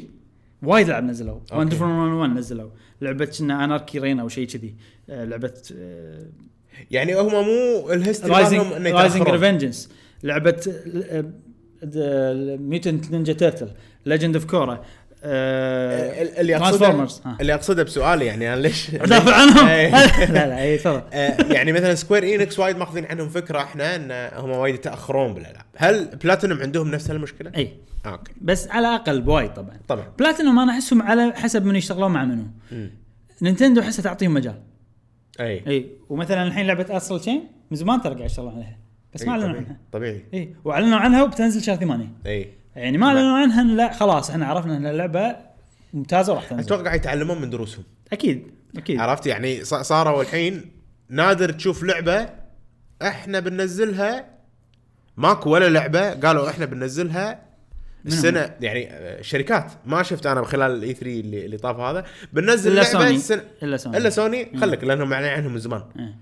A: وايد لعب نزلوا
B: أوكي.
A: وندرفول 101 نزلوا لعبه كنا اناركي رين او شيء كذي آه، لعبه آه،
B: يعني هم مو الهيستوري مالهم
A: رايزنج
B: انه
A: رايزنج
B: يتأخرون.
A: ريفنجنس لعبه آه، ميوتنت نينجا تيرتل ليجند اوف كورا
B: آه،
A: آه،
B: ال- اللي اقصده
A: ترانسفورمرز
B: اللي اقصده بسؤالي يعني انا ليش
A: دافع آه. عنهم
B: إيه.
A: لا لا اي تفضل
B: آه، يعني مثلا سكوير انكس وايد ماخذين عنهم فكره احنا ان هم وايد يتاخرون بالالعاب هل بلاتينوم عندهم نفس المشكله
A: اي
B: آه، اوكي
A: إيه. بس على اقل بوايد طبعا
B: طبعا
A: بلاتينوم انا احسهم على حسب من يشتغلون مع منو
B: مم.
A: نينتندو احسها تعطيهم مجال
B: اي
A: اي ومثلا الحين لعبه استرال تشين من زمان ترى قاعد يشتغلون عليها بس ما
B: إي،
A: اعلنوا
B: طبيعي.
A: عنها
B: طبيعي
A: اي واعلنوا عنها وبتنزل شهر 8
B: اي
A: يعني
B: نعم.
A: ما اعلنوا عنها إن لا خلاص احنا عرفنا ان اللعبه ممتازه وراح تنزل
B: اتوقع يتعلمون من دروسهم
A: اكيد اكيد
B: عرفت يعني ص- صاروا الحين نادر تشوف لعبه احنا بننزلها ماكو ولا لعبه قالوا احنا بننزلها السنه يعني آه، شركات ما شفت انا خلال الاي 3 اللي, اللي طاف هذا بنزل
A: الا
B: لعبة
A: سوني
B: السنة-
A: الا سوني
B: الا سوني خلك لانهم اعلنوا عنها يعني من زمان
A: إيه.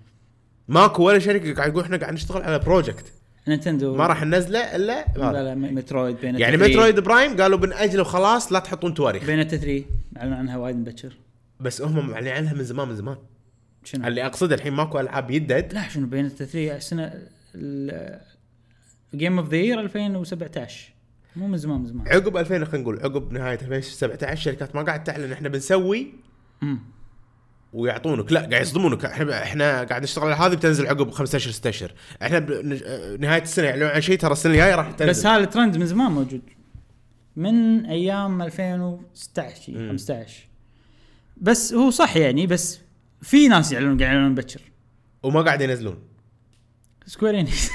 B: ماكو ولا شركه قاعد يقول احنا قاعد نشتغل على بروجكت
A: نينتندو
B: ما راح ننزله الا
A: لا
B: بهذا.
A: لا إيه. م- مترويد بين
B: يعني مترويد برايم قالوا بنأجله خلاص لا تحطون تواريخ
A: بين 3 اعلنوا عنها وايد مبكر
B: بس هم معلنين عنها من زمان من زمان
A: شنو؟
B: اللي اقصده الحين ماكو العاب يدد
A: لا شنو بين 3 السنه جيم اوف ذا يير 2017 مو من زمان من زمان
B: عقب 2000 خلينا نقول عقب نهايه 2017 الشركات ما قاعد تعلن احنا بنسوي
A: مم.
B: ويعطونك لا قاعد يصدمونك احنا احنا قاعد نشتغل على هذه بتنزل عقب 15 6 اشهر احنا ب... نج- آه، نهايه السنه يعلنون عن شيء ترى السنه الجايه راح تنزل
A: بس هذا الترند من زمان موجود من ايام 2016 شي،
B: مم.
A: 15 بس هو صح يعني بس في ناس يعلنون قاعد يعلنون مبكر
B: وما قاعد ينزلون
A: سكوير انكس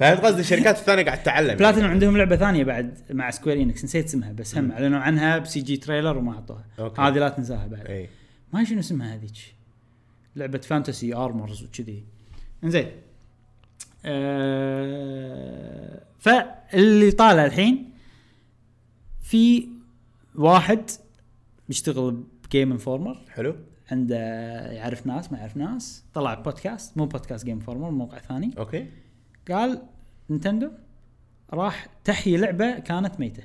B: فهمت قصدي الشركات الثانيه قاعد تعلم
A: بلاتينوم عندهم لعبه ثانيه بعد مع سكوير انكس نسيت اسمها بس هم اعلنوا عنها بسي جي تريلر وما اعطوها
B: أوكي.
A: هذه لا تنساها بعد
B: يعني. اي
A: ما شنو اسمها هذيك لعبه فانتسي ارمرز وكذي انزين آه فاللي طالع الحين في واحد بيشتغل بجيم انفورمر
B: حلو
A: عنده يعرف ناس ما يعرف ناس طلع بودكاست مو بودكاست جيم انفورمر موقع ثاني
B: اوكي
A: قال نينتندو راح تحيي لعبه كانت ميته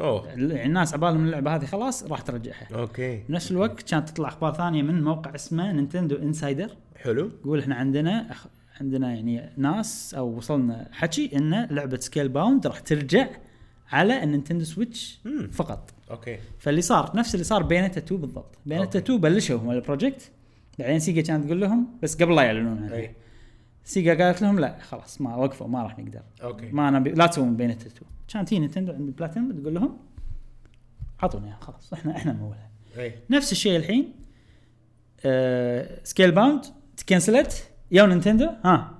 B: اوه
A: يعني الناس عبالهم اللعبه هذه خلاص راح ترجعها
B: اوكي
A: بنفس الوقت كانت تطلع اخبار ثانيه من موقع اسمه نينتندو انسايدر
B: حلو
A: يقول احنا عندنا أخ... عندنا يعني ناس او وصلنا حكي ان لعبه سكيل باوند راح ترجع على النينتندو سويتش
B: مم.
A: فقط
B: اوكي
A: فاللي صار نفس اللي صار بينتا 2 بالضبط بينتا
B: أوكي.
A: 2 بلشوا هم البروجكت بعدين سيجا كانت تقول لهم بس قبل لا يعلنون عنها
B: اي
A: سيجا قالت لهم لا خلاص ما وقفوا ما راح نقدر
B: اوكي
A: ما انا بي... لا تسوون بينتا 2 كانت تي نينتندو عند بلاتينم تقول لهم اعطونا اياها خلاص احنا احنا نمولها
B: اي
A: نفس الشيء الحين أه سكيل باوند تكنسلت يا نينتندو ها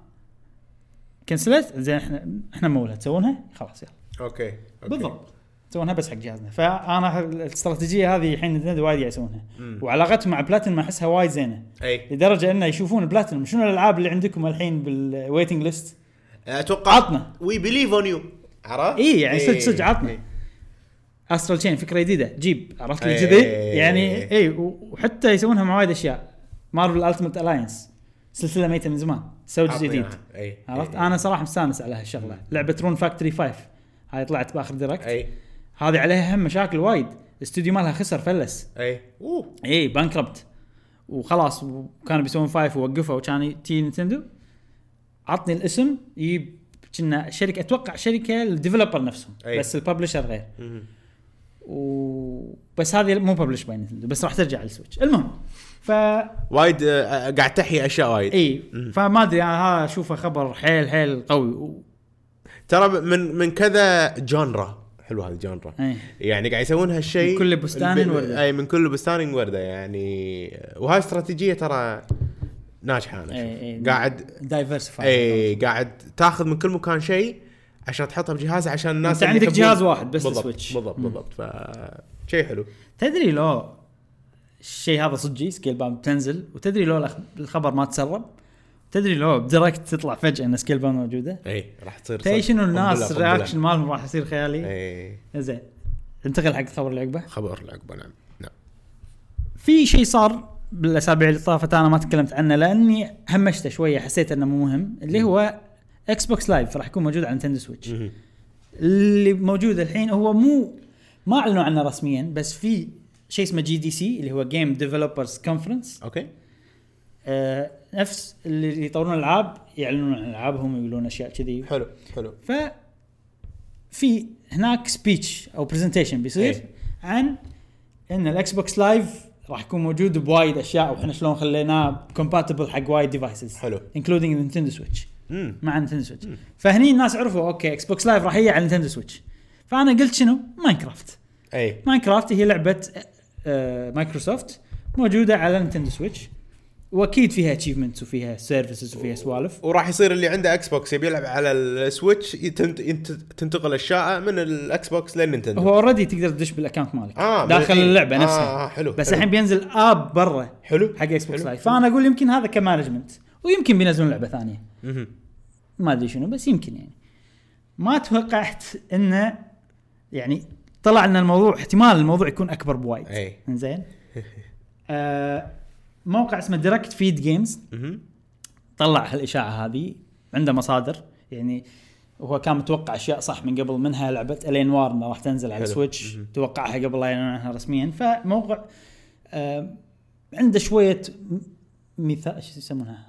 A: كنسلت زين احنا احنا مولها تسوونها خلاص يلا
B: اوكي أوكي.
A: بالضبط تسوونها بس حق جهازنا فانا الاستراتيجيه هذه الحين نينتندو وايد قاعد يسوونها
B: مم.
A: وعلاقتهم مع بلاتينم احسها وايد زينه
B: اي
A: لدرجه انه يشوفون بلاتينم شنو الالعاب اللي عندكم الحين بالويتنج ليست
B: اتوقع
A: عطنا.
B: وي بليف اون يو عرفت؟
A: اي يعني صدق
B: إي.
A: صدق
B: إي.
A: عطنا استرال تشين فكره جديده جيب عرفت لي
B: إي.
A: كذي يعني اي و- وحتى يسوونها مع وايد اشياء مارفل التمت الاينس سلسله ميته من زمان سوي جزء
B: عطنا
A: جديد
B: إياها. اي
A: عرفت
B: إي.
A: انا صراحه مستانس على هالشغله لعبه رون فاكتوري 5 هاي طلعت باخر ديركت
B: اي
A: هذه عليها هم مشاكل وايد الاستوديو مالها خسر فلس
B: اي اوه
A: اي بانكربت وخلاص وكانوا بيسوون فايف ووقفوا وكان تي نينتندو عطني الاسم يجيب كنا شركه اتوقع شركه الديفلوبر نفسهم
B: أي.
A: بس الببلشر غير و بس هذه مو ببلش باي نينتندو بس راح ترجع على السويتش المهم ف
B: وايد آه، آه، قاعد تحيي اشياء وايد
A: اي فما ادري انا هذا اشوفه خبر حيل حيل قوي و...
B: ترى من من كذا جانرا حلو هذا جانرا
A: أي.
B: يعني قاعد يسوون هالشيء
A: من كل بستان
B: ب-
A: وردة.
B: اي من كل بستان ورده يعني وهاي استراتيجيه ترى ناجحه انا
A: أي- نعم. أي.
B: أشوف. قاعد
A: دايفرسيفاي
B: اي قاعد تاخذ من كل مكان شيء عشان تحطه بجهاز عشان
A: أنت
B: الناس اللي
A: عندك
B: يحبون-
A: جهاز واحد بس
B: بالضبط
A: السويتش.
B: بالضبط بالضبط ف شيء حلو
A: تدري لو الشيء هذا صجي سكيل باوند تنزل وتدري لو الأخ- الخبر ما تسرب تدري لو بدايركت تطلع فجاه ان سكيل باوند موجوده
B: اي راح تصير
A: تدري
B: صدق.
A: شنو
B: قنبلة-
A: الناس
B: قنبلة.
A: الرياكشن مالهم راح يصير خيالي
B: اي
A: زين انتقل حق الخبر اللي عقبه
B: خبر العقبه نعم نعم
A: في شيء صار بالاسابيع اللي طافت انا ما تكلمت عنه لاني همشته شويه حسيت انه مو مهم اللي هو اكس بوكس لايف راح يكون موجود على نتندو سويتش اللي موجود الحين هو مو ما اعلنوا عنه رسميا بس في شيء اسمه جي دي سي اللي هو جيم ديفلوبرز كونفرنس
B: اوكي
A: آه، نفس اللي يطورون العاب يعلنون عن العابهم ويقولون اشياء كذي
B: حلو حلو
A: ف في هناك سبيتش او برزنتيشن بيصير
B: إيه.
A: عن ان الاكس بوكس لايف راح يكون موجود بوايد اشياء واحنا شلون خليناه كومباتبل حق وايد ديفايسز
B: حلو.
A: انكلودينج نينتندو سويتش
B: امم
A: مع نينتندو سويتش فهني الناس عرفوا اوكي اكس بوكس لايف راح يجي على نينتندو سويتش فانا قلت شنو ماينكرافت
B: اي
A: ماينكرافت هي لعبه آه، مايكروسوفت موجوده على نينتندو سويتش واكيد فيها اتشيفمنتس وفيها سيرفيسز وفيها سوالف
B: وراح يصير اللي عنده اكس بوكس يبي يلعب على السويتش يتنت- ينت- تنتقل الشائعه من الاكس بوكس للنينتندو
A: هو اوريدي تقدر تدش بالاكونت مالك
B: آه،
A: داخل
B: بال-
A: اللعبه
B: آه،
A: نفسها
B: آه، حلو،
A: بس
B: حلو.
A: الحين بينزل اب برا
B: حلو
A: حق اكس بوكس
B: حلو.
A: لايف فانا اقول يمكن هذا كمانجمنت ويمكن بينزلون لعبه ثانيه
B: مهم.
A: ما ادري شنو بس يمكن يعني ما توقعت انه يعني طلع لنا الموضوع احتمال الموضوع يكون اكبر بوايد
B: إي.
A: زين آه موقع اسمه دايركت فيد جيمز طلع هالاشاعه هذه عنده مصادر يعني هو كان متوقع اشياء صح من قبل منها لعبه الين وارنا راح تنزل على
B: حلو.
A: السويتش توقعها قبل لا يعلن عنها رسميا فموقع آه عنده شويه م- ميثاق شو يسمونها؟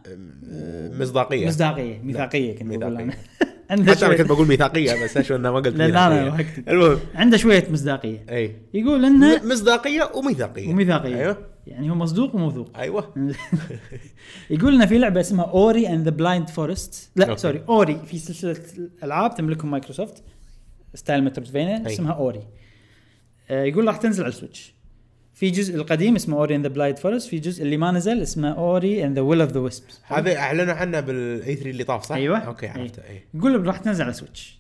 B: مصداقيه
A: مصداقيه ميثاقيه كنت بقول انا
B: ميثاقية.
A: عنده
B: حتى انا
A: شوية-
B: كنت بقول ميثاقيه بس عشان أنا ما قلت
A: لا، لا، لا،
B: ميثاقية.
A: وقت-
B: المهم
A: عنده شويه مصداقيه
B: اي
A: يقول انه
B: م- مصداقيه وميثاقيه
A: وميثاقيه
B: ايوه
A: يعني هو مصدوق وموثوق
B: ايوه
A: يقول لنا في لعبه اسمها اوري اند ذا بلايند فورست لا
B: أوكي.
A: سوري اوري في سلسله العاب تملكهم مايكروسوفت ستايل متروفينيا
B: أي.
A: اسمها اوري آه يقول راح تنزل على السويتش في جزء القديم اسمه اوري اند ذا بلايند فورست في جزء اللي ما نزل اسمه اوري اند ذا ويل اوف ذا ويسبس
B: هذا اعلنوا عنه بالاي 3 E اللي طاف صح؟
A: ايوه
B: اوكي
A: أي.
B: عرفته إيه. اي
A: يقول لك راح تنزل على السويتش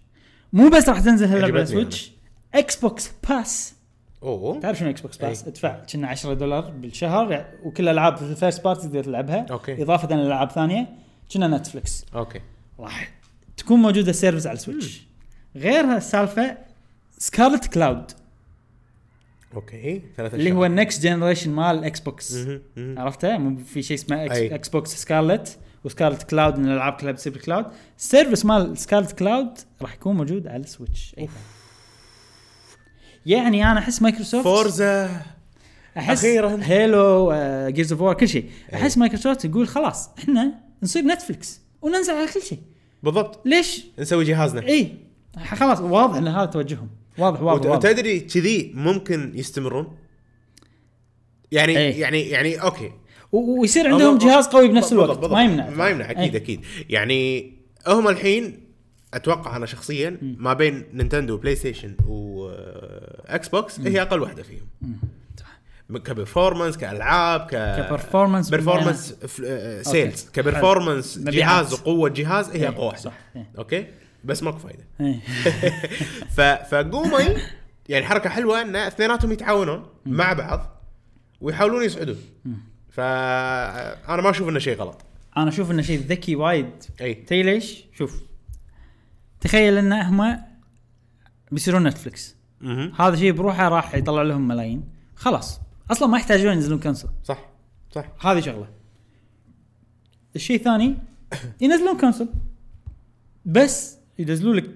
A: مو بس راح تنزل هاللعبه على
B: عجبتني أنا.
A: السويتش اكس بوكس باس
B: اوه
A: تعرف شنو اكس بوكس باس
B: أي.
A: ادفع كنا 10 دولار بالشهر يعني وكل الالعاب في الفيرست بارتي تقدر تلعبها
B: أوكي.
A: اضافه لالعاب ثانيه كنا نتفلكس
B: اوكي
A: راح تكون موجوده سيرفز على السويتش غير هالسالفه سكارلت كلاود
B: اوكي ثلاث
A: اللي هو النكست جنريشن مال الاكس بوكس
B: مهم، مهم.
A: عرفته مو في شيء اسمه اكس,
B: أي.
A: اكس بوكس سكارلت وسكارلت كلاود من الالعاب كلها بتصير كلاود السيرفس مال سكارلت كلاود راح يكون موجود على السويتش ايضا يعني انا احس مايكروسوفت
B: فورزا
A: احس
B: أخيراً.
A: هيلو جيرز اوف وور كل شيء احس مايكروسوفت يقول خلاص احنا نصير نتفلكس وننزل على كل شيء
B: بالضبط
A: ليش
B: نسوي جهازنا
A: اي خلاص واضح ان هذا توجههم واضح واضح, واضح.
B: وتدري كذي ممكن يستمرون يعني
A: أي.
B: يعني يعني اوكي
A: و- ويصير عندهم جهاز قوي بنفس
B: بالضبط،
A: الوقت
B: بالضبط.
A: ما يمنع إيه.
B: ما يمنع اكيد
A: أي.
B: اكيد يعني هم الحين اتوقع انا شخصيا ما بين نينتندو بلاي ستيشن واكس بوكس هي اقل واحده فيهم كبرفورمانس كالعاب ك
A: كبرفورمانس
B: برفورمانس سيلز
A: أوكي.
B: كبرفورمانس
A: مبيعات.
B: جهاز وقوه جهاز هي
A: إيه،
B: اقوى واحده
A: صح، إيه.
B: اوكي بس ماكو فايده
A: إيه.
B: ف فقومي يعني حركه حلوه ان اثنيناتهم يتعاونون مع بعض ويحاولون يصعدون فانا ما اشوف انه شيء غلط
A: انا اشوف انه شيء ذكي وايد
B: اي.
A: تدري ليش؟ شوف تخيل ان هم بيصيرون نتفلكس هذا شيء بروحه راح يطلع لهم ملايين خلاص اصلا ما يحتاجون ينزلون كونسل
B: صح صح
A: هذه شغله الشيء الثاني ينزلون كونسول بس ينزلون لك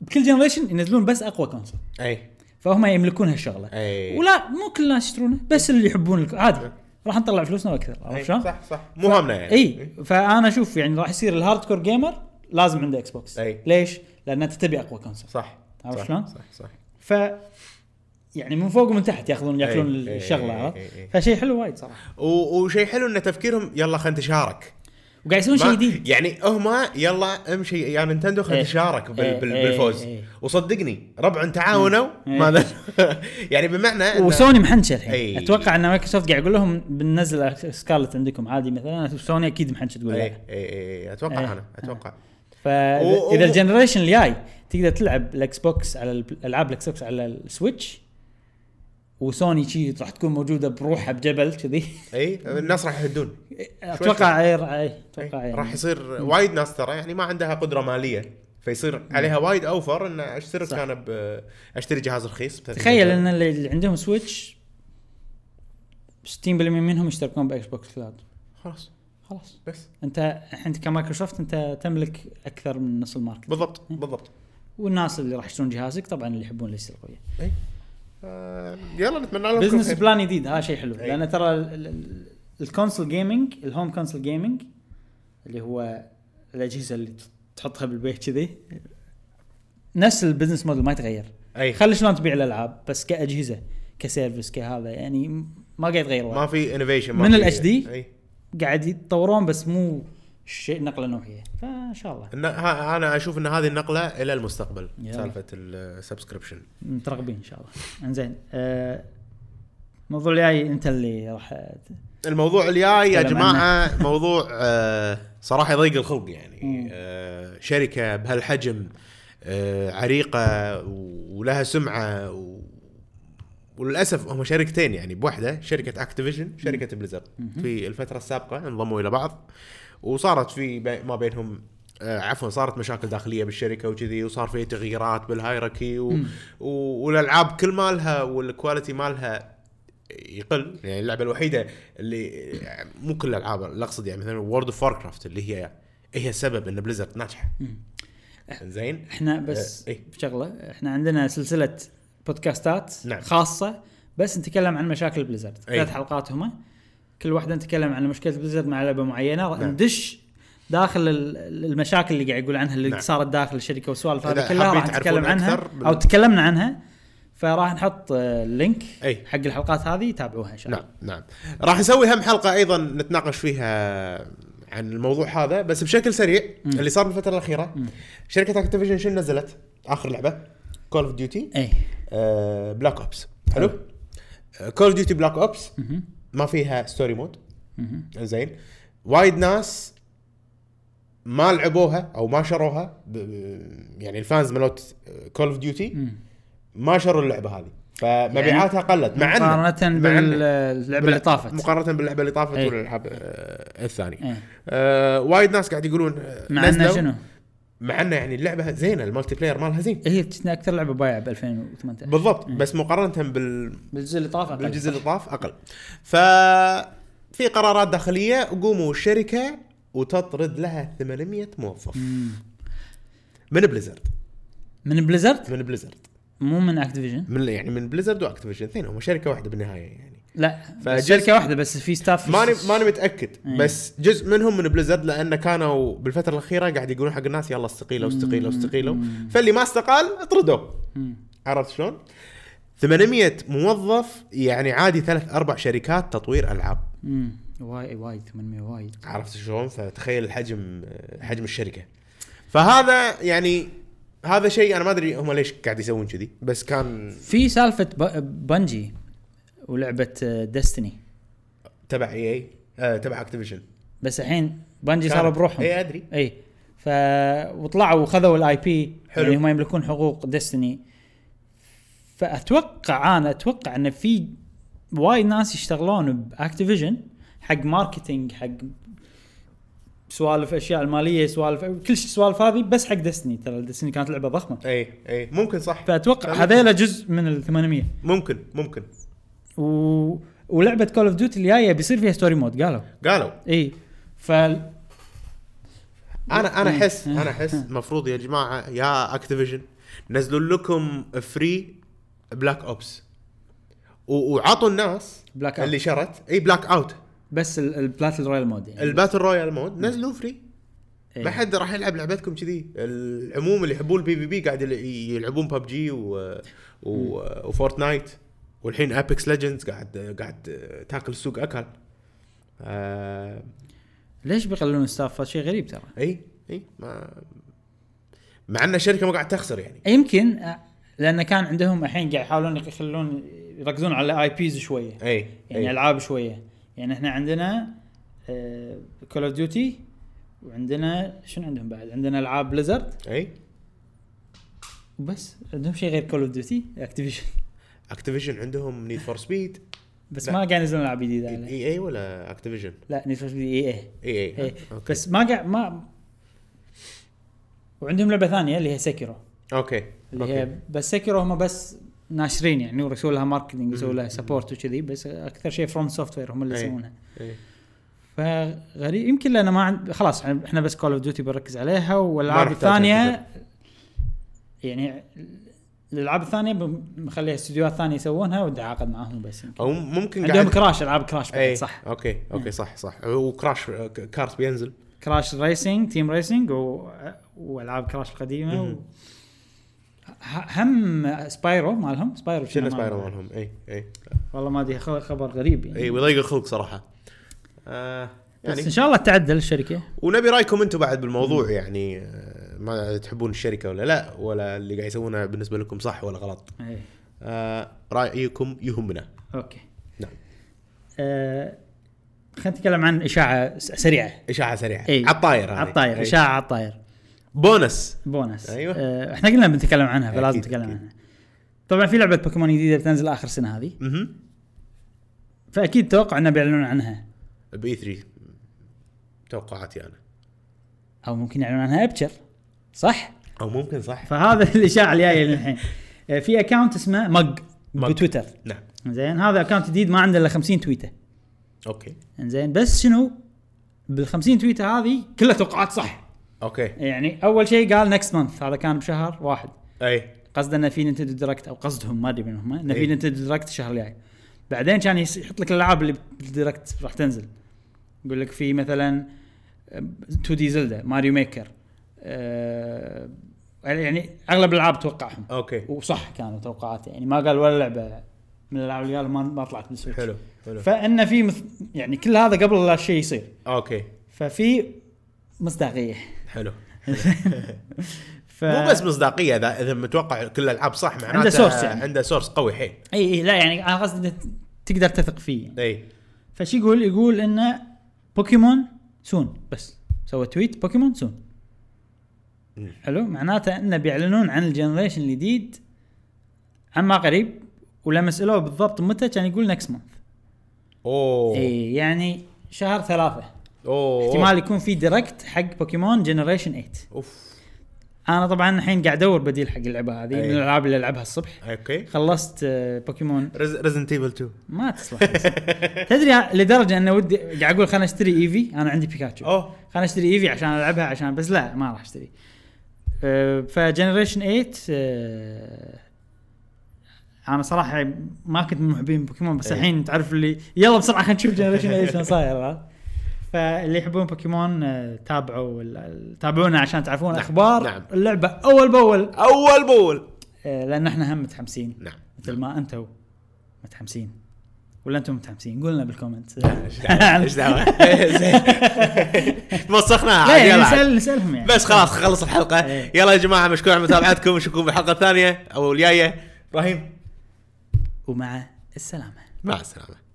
A: بكل جنريشن ينزلون بس اقوى كونسول
B: اي
A: فهم يملكون هالشغله
B: أي.
A: ولا مو كل الناس يشترونه بس اللي يحبون الك- عادي راح نطلع فلوسنا واكثر
B: أي.
A: عرفت شلون؟
B: صح صح مو هامنا يعني
A: اي فانا اشوف يعني راح يصير الهاردكور جيمر لازم عنده اكس بوكس
B: أي.
A: ليش؟ لان انت تبي اقوى كونسول
B: صح
A: عرفت
B: صح،
A: شلون؟
B: صح صح
A: ف يعني من فوق ومن تحت ياخذون ياكلون
B: أي.
A: الشغله
B: أي.
A: عرفت؟
B: أي. أي.
A: فشيء حلو وايد صراحه
B: و- وشيء حلو ان تفكيرهم يلا خلينا نتشارك
A: وقاعد يسوون شيء
B: ما-
A: جديد
B: يعني هما يلا امشي يا نينتندو خلينا
A: إيه.
B: نتشارك
A: إيه،
B: بال- بال-
A: إيه،
B: بالفوز
A: إيه.
B: وصدقني ربع تعاونوا
A: إيه.
B: ماذا يعني بمعنى إن-
A: وسوني محنشه الحين
B: أي.
A: اتوقع ان مايكروسوفت قاعد يقول لهم بننزل سكارلت عندكم عادي مثلا سوني اكيد محنشه تقول يعني.
B: اي
A: لا
B: اي اي اتوقع
A: إيه.
B: انا اتوقع و-
A: فاذا
B: و-
A: الجنريشن الجاي تقدر تلعب الاكس بوكس على ال- العاب الاكس بوكس على السويتش وسوني شي راح تكون موجوده بروحها بجبل كذي
B: اي إيه، الناس راح يهدون
A: اتوقع اي راح- أي،
B: إي،
A: اتوقع
B: راح
A: يعني.
B: يصير وايد ناس ترى يعني ما عندها قدره ماليه فيصير عليها وايد اوفر ان اشترك
A: إيه. صح.
B: انا ب- اشتري جهاز رخيص ب
A: تخيل ان اللي اللي عندهم سويتش 60% منهم يشتركون باكس بوكس كلاود
B: خلاص
A: خلاص
B: بس
A: انت الحين كمايكروسوفت انت تملك اكثر من نص الماركت
B: بالضبط
A: إيه.
B: بالضبط
A: والناس اللي راح يشترون جهازك طبعا اللي يحبون ليس القويه
B: اي إيه. آه، يلا نتمنى لهم كل
A: بزنس
B: خير.
A: بلان جديد هذا شيء حلو
B: أي.
A: لان ترى ال- ال- ال- الكونسول جيمنج الهوم كونسول جيمنج اللي هو الاجهزه اللي ت- تحطها بالبيت كذي نفس البزنس موديل ما يتغير
B: اي
A: خلي شلون تبيع الالعاب بس كاجهزه كسيرفس كهذا يعني ما قاعد يتغير
B: ما
A: وايد.
B: في إيه. انوفيشن
A: من ال HD
B: اي
A: قاعد يتطورون بس مو شيء نقله نوعيه فان شاء الله
B: إن- ها- انا اشوف ان هذه النقله الى المستقبل
A: يلا.
B: سالفه السبسكريبشن
A: مترقبين ان شاء الله انزين آه، الموضوع الجاي انت اللي راح ت-
B: الموضوع الجاي يا
A: نتكلم
B: جماعه موضوع آه، صراحه يضيق الخلق يعني آه، شركه بهالحجم آه، عريقه ولها سمعه و- وللاسف هم شركتين يعني بوحده شركه اكتيفيجن شركه بليزرد في الفتره السابقه انضموا الى بعض وصارت في بي- ما بينهم آه، عفوا صارت مشاكل داخليه بالشركه وكذي وصار في تغييرات بالهايركي و... و... والالعاب كل مالها والكواليتي مالها يقل يعني اللعبه الوحيده اللي مو كل الالعاب اللي اقصد يعني مثلا وورد اوف كرافت اللي هي هي السبب ان بليزرد ناجحه زين
A: احنا بس
B: آه،
A: في
B: إيه.
A: شغله احنا عندنا سلسله بودكاستات
B: نعم. إيه.
A: خاصه بس نتكلم عن مشاكل بليزرد
B: أي.
A: ثلاث حلقات هما كل واحده نتكلم عن مشكله بليزرد مع لعبه معينه
B: نعم.
A: ندش داخل ال- ال- المشاكل اللي قاعد يقول عنها اللي
B: نعم.
A: صارت داخل الشركه والسوالف هذه
B: إذا
A: كلها
B: حابين
A: راح نتكلم
B: تعرفون
A: عنها
B: أكثر بال-
A: او تكلمنا عنها فراح نحط آه، لينك
B: أي.
A: حق الحلقات هذه تابعوها ان شاء الله
B: نعم نعم راح نسوي هم حلقه ايضا نتناقش فيها عن الموضوع هذا بس بشكل سريع اللي صار بالفتره الاخيره شركه اكتيفيجن شنو نزلت اخر لعبه كول اوف ديوتي
A: اي
B: بلاك اوبس آه، حلو آه، كول اوف ديوتي بلاك اوبس ما فيها ستوري مود زين وايد ناس ما لعبوها او ما شروها ب- ب- يعني الفانز مالت كول اوف ديوتي ما شروا اللعبه هذه فمبيعاتها قلت مع إن-
A: مقارنه
B: مع إن-
A: باللعبه يعني اللي طافت
B: مقارنه باللعبه اللي طافت
A: إيه.
B: والالعاب آه، الثانيه
A: إيه.
B: آه وايد ناس قاعد يقولون آه،
A: مع انه
B: نزلوا.
A: شنو؟
B: مع انه يعني اللعبه زينه المالتي بلاير مالها زين
A: هي كنا اكثر لعبه بايعه ب 2018
B: بالضبط بس مقارنه بال
A: بالجزء اللي طاف
B: بالجزء اللي طاف اقل ف في قرارات داخليه قوموا الشركه وتطرد لها 800 موظف من بليزرد
A: من بليزرد
B: من بليزرد
A: مو من اكتيفيجن
B: من يعني من بليزرد واكتيفيشن اثنين هم شركه واحده بالنهايه يعني
A: لا
B: فجزء-
A: شركه واحده بس في ستاف
B: ماني ماني متاكد
A: إيه.
B: بس جزء منهم من بليزرد لانه كانوا بالفتره الاخيره قاعد يقولون حق الناس يلا استقيلوا استقيلوا استقيلوا فاللي ما استقال اطردوه عرفت شلون؟ 800 موظف يعني عادي ثلاث اربع شركات تطوير العاب
A: مم. وايد وايد 800 وايد
B: عرفت شلون؟ فتخيل الحجم حجم الشركه. فهذا يعني هذا شيء انا ما ادري هم ليش قاعد يسوون كذي بس كان
A: في سالفه ب- بنجي آه، ولعبه ديستني
B: تبع اي اي آه تبع اكتيفيشن
A: بس الحين بنجي صاروا بروحهم
B: اي ادري
A: اي ف وطلعوا وخذوا الاي بي
B: حلو.
A: يعني هم يملكون حقوق ديستني فاتوقع انا اتوقع ان في وايد ناس يشتغلون باكتيفيجن حق ماركتينج حق سوالف اشياء الماليه سوالف كل شيء سوالف هذه بس حق ديستني ترى ديستني كانت لعبه ضخمه
B: اي اي ممكن صح
A: فاتوقع
B: فممكن.
A: هذيلا جزء من ال 800
B: ممكن ممكن
A: و... ولعبه كول اوف ديوتي اللي جايه بيصير فيها ستوري مود قالوا إيه.
B: قالوا
A: اي ف
B: انا انا احس انا احس المفروض يا جماعه يا اكتيفيجن نزلوا لكم فري بلاك اوبس و- وعطوا الناس
A: Black Ops.
B: اللي شرت اي بلاك اوت
A: بس ال- البلاتل رويال مود يعني
B: الباتل رويال مود نزلوا فري
A: إيه.
B: ما حد راح يلعب لعبتكم كذي العموم اللي يحبون البي في بي قاعد يل- يلعبون ببجي و... و... وفورتنايت والحين ابيكس ليجندز قاعد قاعد تاكل السوق اكل آه...
A: ليش بيقللون ستاف هذا شيء غريب ترى
B: اي اي ما مع ان الشركه ما قاعد تخسر يعني
A: يمكن آه، لان كان عندهم الحين قاعد يحاولون يخلون يركزون على اي بيز شويه
B: اي
A: يعني
B: أي.
A: العاب شويه يعني احنا عندنا آه، كول اوف ديوتي وعندنا شنو عندهم بعد عندنا العاب بليزرد
B: اي
A: وبس عندهم شيء غير كول اوف ديوتي اكتيفيشن
B: اكتيفيجن عندهم نيد فور سبيد
A: بس
B: لا. إيه.
A: ما قاعد ينزلون العاب جديده عليه.
B: اي اي ولا اكتيفيجن
A: لا نيد فور اي اي
B: اي اي
A: إيه.
B: اوكي
A: بس ما قاعد ما وعندهم لعبه ثانيه اللي هي سكيرو
B: اوكي
A: اللي
B: اوكي
A: هي بس سكيرو هم بس ناشرين يعني ويسوون لها ماركتنج ويسوون لها سبورت وكذي بس اكثر شيء فروم سوفت وير هم اللي
B: أي.
A: يسوونها
B: إيه.
A: فغريب يمكن لان ما عند خلاص يعني احنا بس كول اوف ديوتي بنركز عليها
B: ما
A: والالعاب
B: نحتاج
A: الثانيه يعني الالعاب الثانيه مخليها استديوهات ثانيه يسوونها ونتعاقد معاهم بس يمكن.
B: او ممكن
A: عندهم كراش العاب كراش بعد
B: اي
A: صح
B: اوكي اوكي صح صح وكراش كارت بينزل
A: كراش ريسنج تيم ريسنج و... والعاب كراش القديمه و...
B: مهم.
A: ه- هم سبايرو مالهم سبايرو
B: شنو
A: ما-
B: سبايرو مالهم اي اي
A: والله ما ادري خ- خبر غريب يعني
B: اي ويضيق الخلق صراحه آه
A: بس
B: إيه، يعني
A: ان شاء الله تعدل الشركه
B: ونبي رايكم انتم بعد بالموضوع يعني آه، ما تحبون الشركه ولا لا ولا اللي قاعد يسوونه بالنسبه لكم صح ولا غلط
A: ايه
B: آه رايكم يهمنا
A: اوكي
B: نعم
A: آه خلينا نتكلم عن اشاعه س- سريعه
B: اشاعه سريعه
A: اي
B: عالطاير هذه.
A: على الطاير
B: إي.
A: اشاعه على الطاير
B: بونس
A: بونس
B: أيوة.
A: آه احنا قلنا بنتكلم عنها فلازم
B: أكيد،
A: نتكلم
B: أكيد.
A: عنها طبعا في لعبه بوكيمون جديده بتنزل اخر سنه هذه
B: اها
A: فاكيد توقع انه بيعلنون عنها
B: باي 3 توقعاتي انا
A: او ممكن يعلنون عنها ابكر صح؟
B: او ممكن صح
A: فهذا الاشاعه اللي جايه الحين آه، في اكونت اسمه مج
B: مج.
A: بتويتر
B: نعم
A: زين هذا اكونت جديد ما عنده الا 50 تويته
B: اوكي
A: زين بس شنو؟ بال 50 تويته هذه كلها توقعات صح
B: اوكي
A: يعني اول شيء قال نكست مانث هذا كان بشهر واحد
B: اي
A: قصده انه في نينتندو دايركت او قصدهم ما ادري من هم انه
B: إيه.
A: في نينتندو دايركت الشهر الجاي بعدين كان يس- يحط لك الالعاب اللي بالدايركت راح تنزل يقول لك في آه، مثلا 2 دي زلدا ماريو ميكر أه يعني اغلب الالعاب توقعهم
B: اوكي
A: وصح كانوا توقعاته يعني ما قال ولا لعبه من الالعاب اللي قالوا ما- ما طلعت بالسويتش
B: حلو حلو
A: فان في مث... يعني كل هذا قبل لا شيء يصير
B: اوكي
A: ففي مصداقيه
B: حلو
A: ف...
B: مو بس مصداقيه اذا اذا متوقع كل الالعاب صح معناته
A: source يعني.
B: عنده سورس قوي حيل
A: اي اي لا يعني انا قصدي إنه تقدر تثق فيه يعني.
B: اي
A: فش يقول يقول انه بوكيمون سون بس سوى تويت بوكيمون سون
B: مم.
A: حلو معناته انه بيعلنون عن الجنريشن الجديد عما قريب ولما سالوه بالضبط متى كان يقول نكس مانث
B: اوه
A: اي يعني شهر ثلاثة
B: اوه
A: احتمال يكون في ديركت حق بوكيمون جنريشن 8
B: اوف
A: انا طبعا الحين قاعد ادور بديل حق اللعبه هذه من
B: أي.
A: الالعاب اللي العبها الصبح
B: اوكي
A: خلصت آه، بوكيمون
B: ريزنت ايفل 2
A: ما تصلح تدري لدرجه انه ودي قاعد اقول خليني اشتري ايفي انا عندي بيكاتشو
B: اوه
A: خليني اشتري ايفي عشان العبها عشان بس لا ما راح اشتري أه، فجنريشن 8 أه، انا صراحه ما كنت من محبين بوكيمون بس
B: إيه.
A: الحين تعرف اللي يلا بسرعه خلينا نشوف جنريشن 8 شنو صاير عرفت؟ فاللي يحبون بوكيمون أه، تابعوا ال- تابعونا عشان تعرفون
B: نعم،
A: اخبار
B: نعم.
A: اللعبه اول باول
B: اول بول
A: أه، لان احنا هم متحمسين
B: نعم
A: مثل ما انتم متحمسين ولا انتم متحمسين قولنا بالكومنت
B: آه، ايش دعوه زين. وسخناها
A: لا
B: عاد،
A: يعني
B: يلا عاد.
A: نسال نسالهم يعني
B: بس خلاص خلص الحلقه
A: إيه.
B: يلا يا جماعه مشكور على متابعتكم نشوفكم بالحلقه الثانيه او الجايه ابراهيم
A: ومع السلامه
B: مع السلامه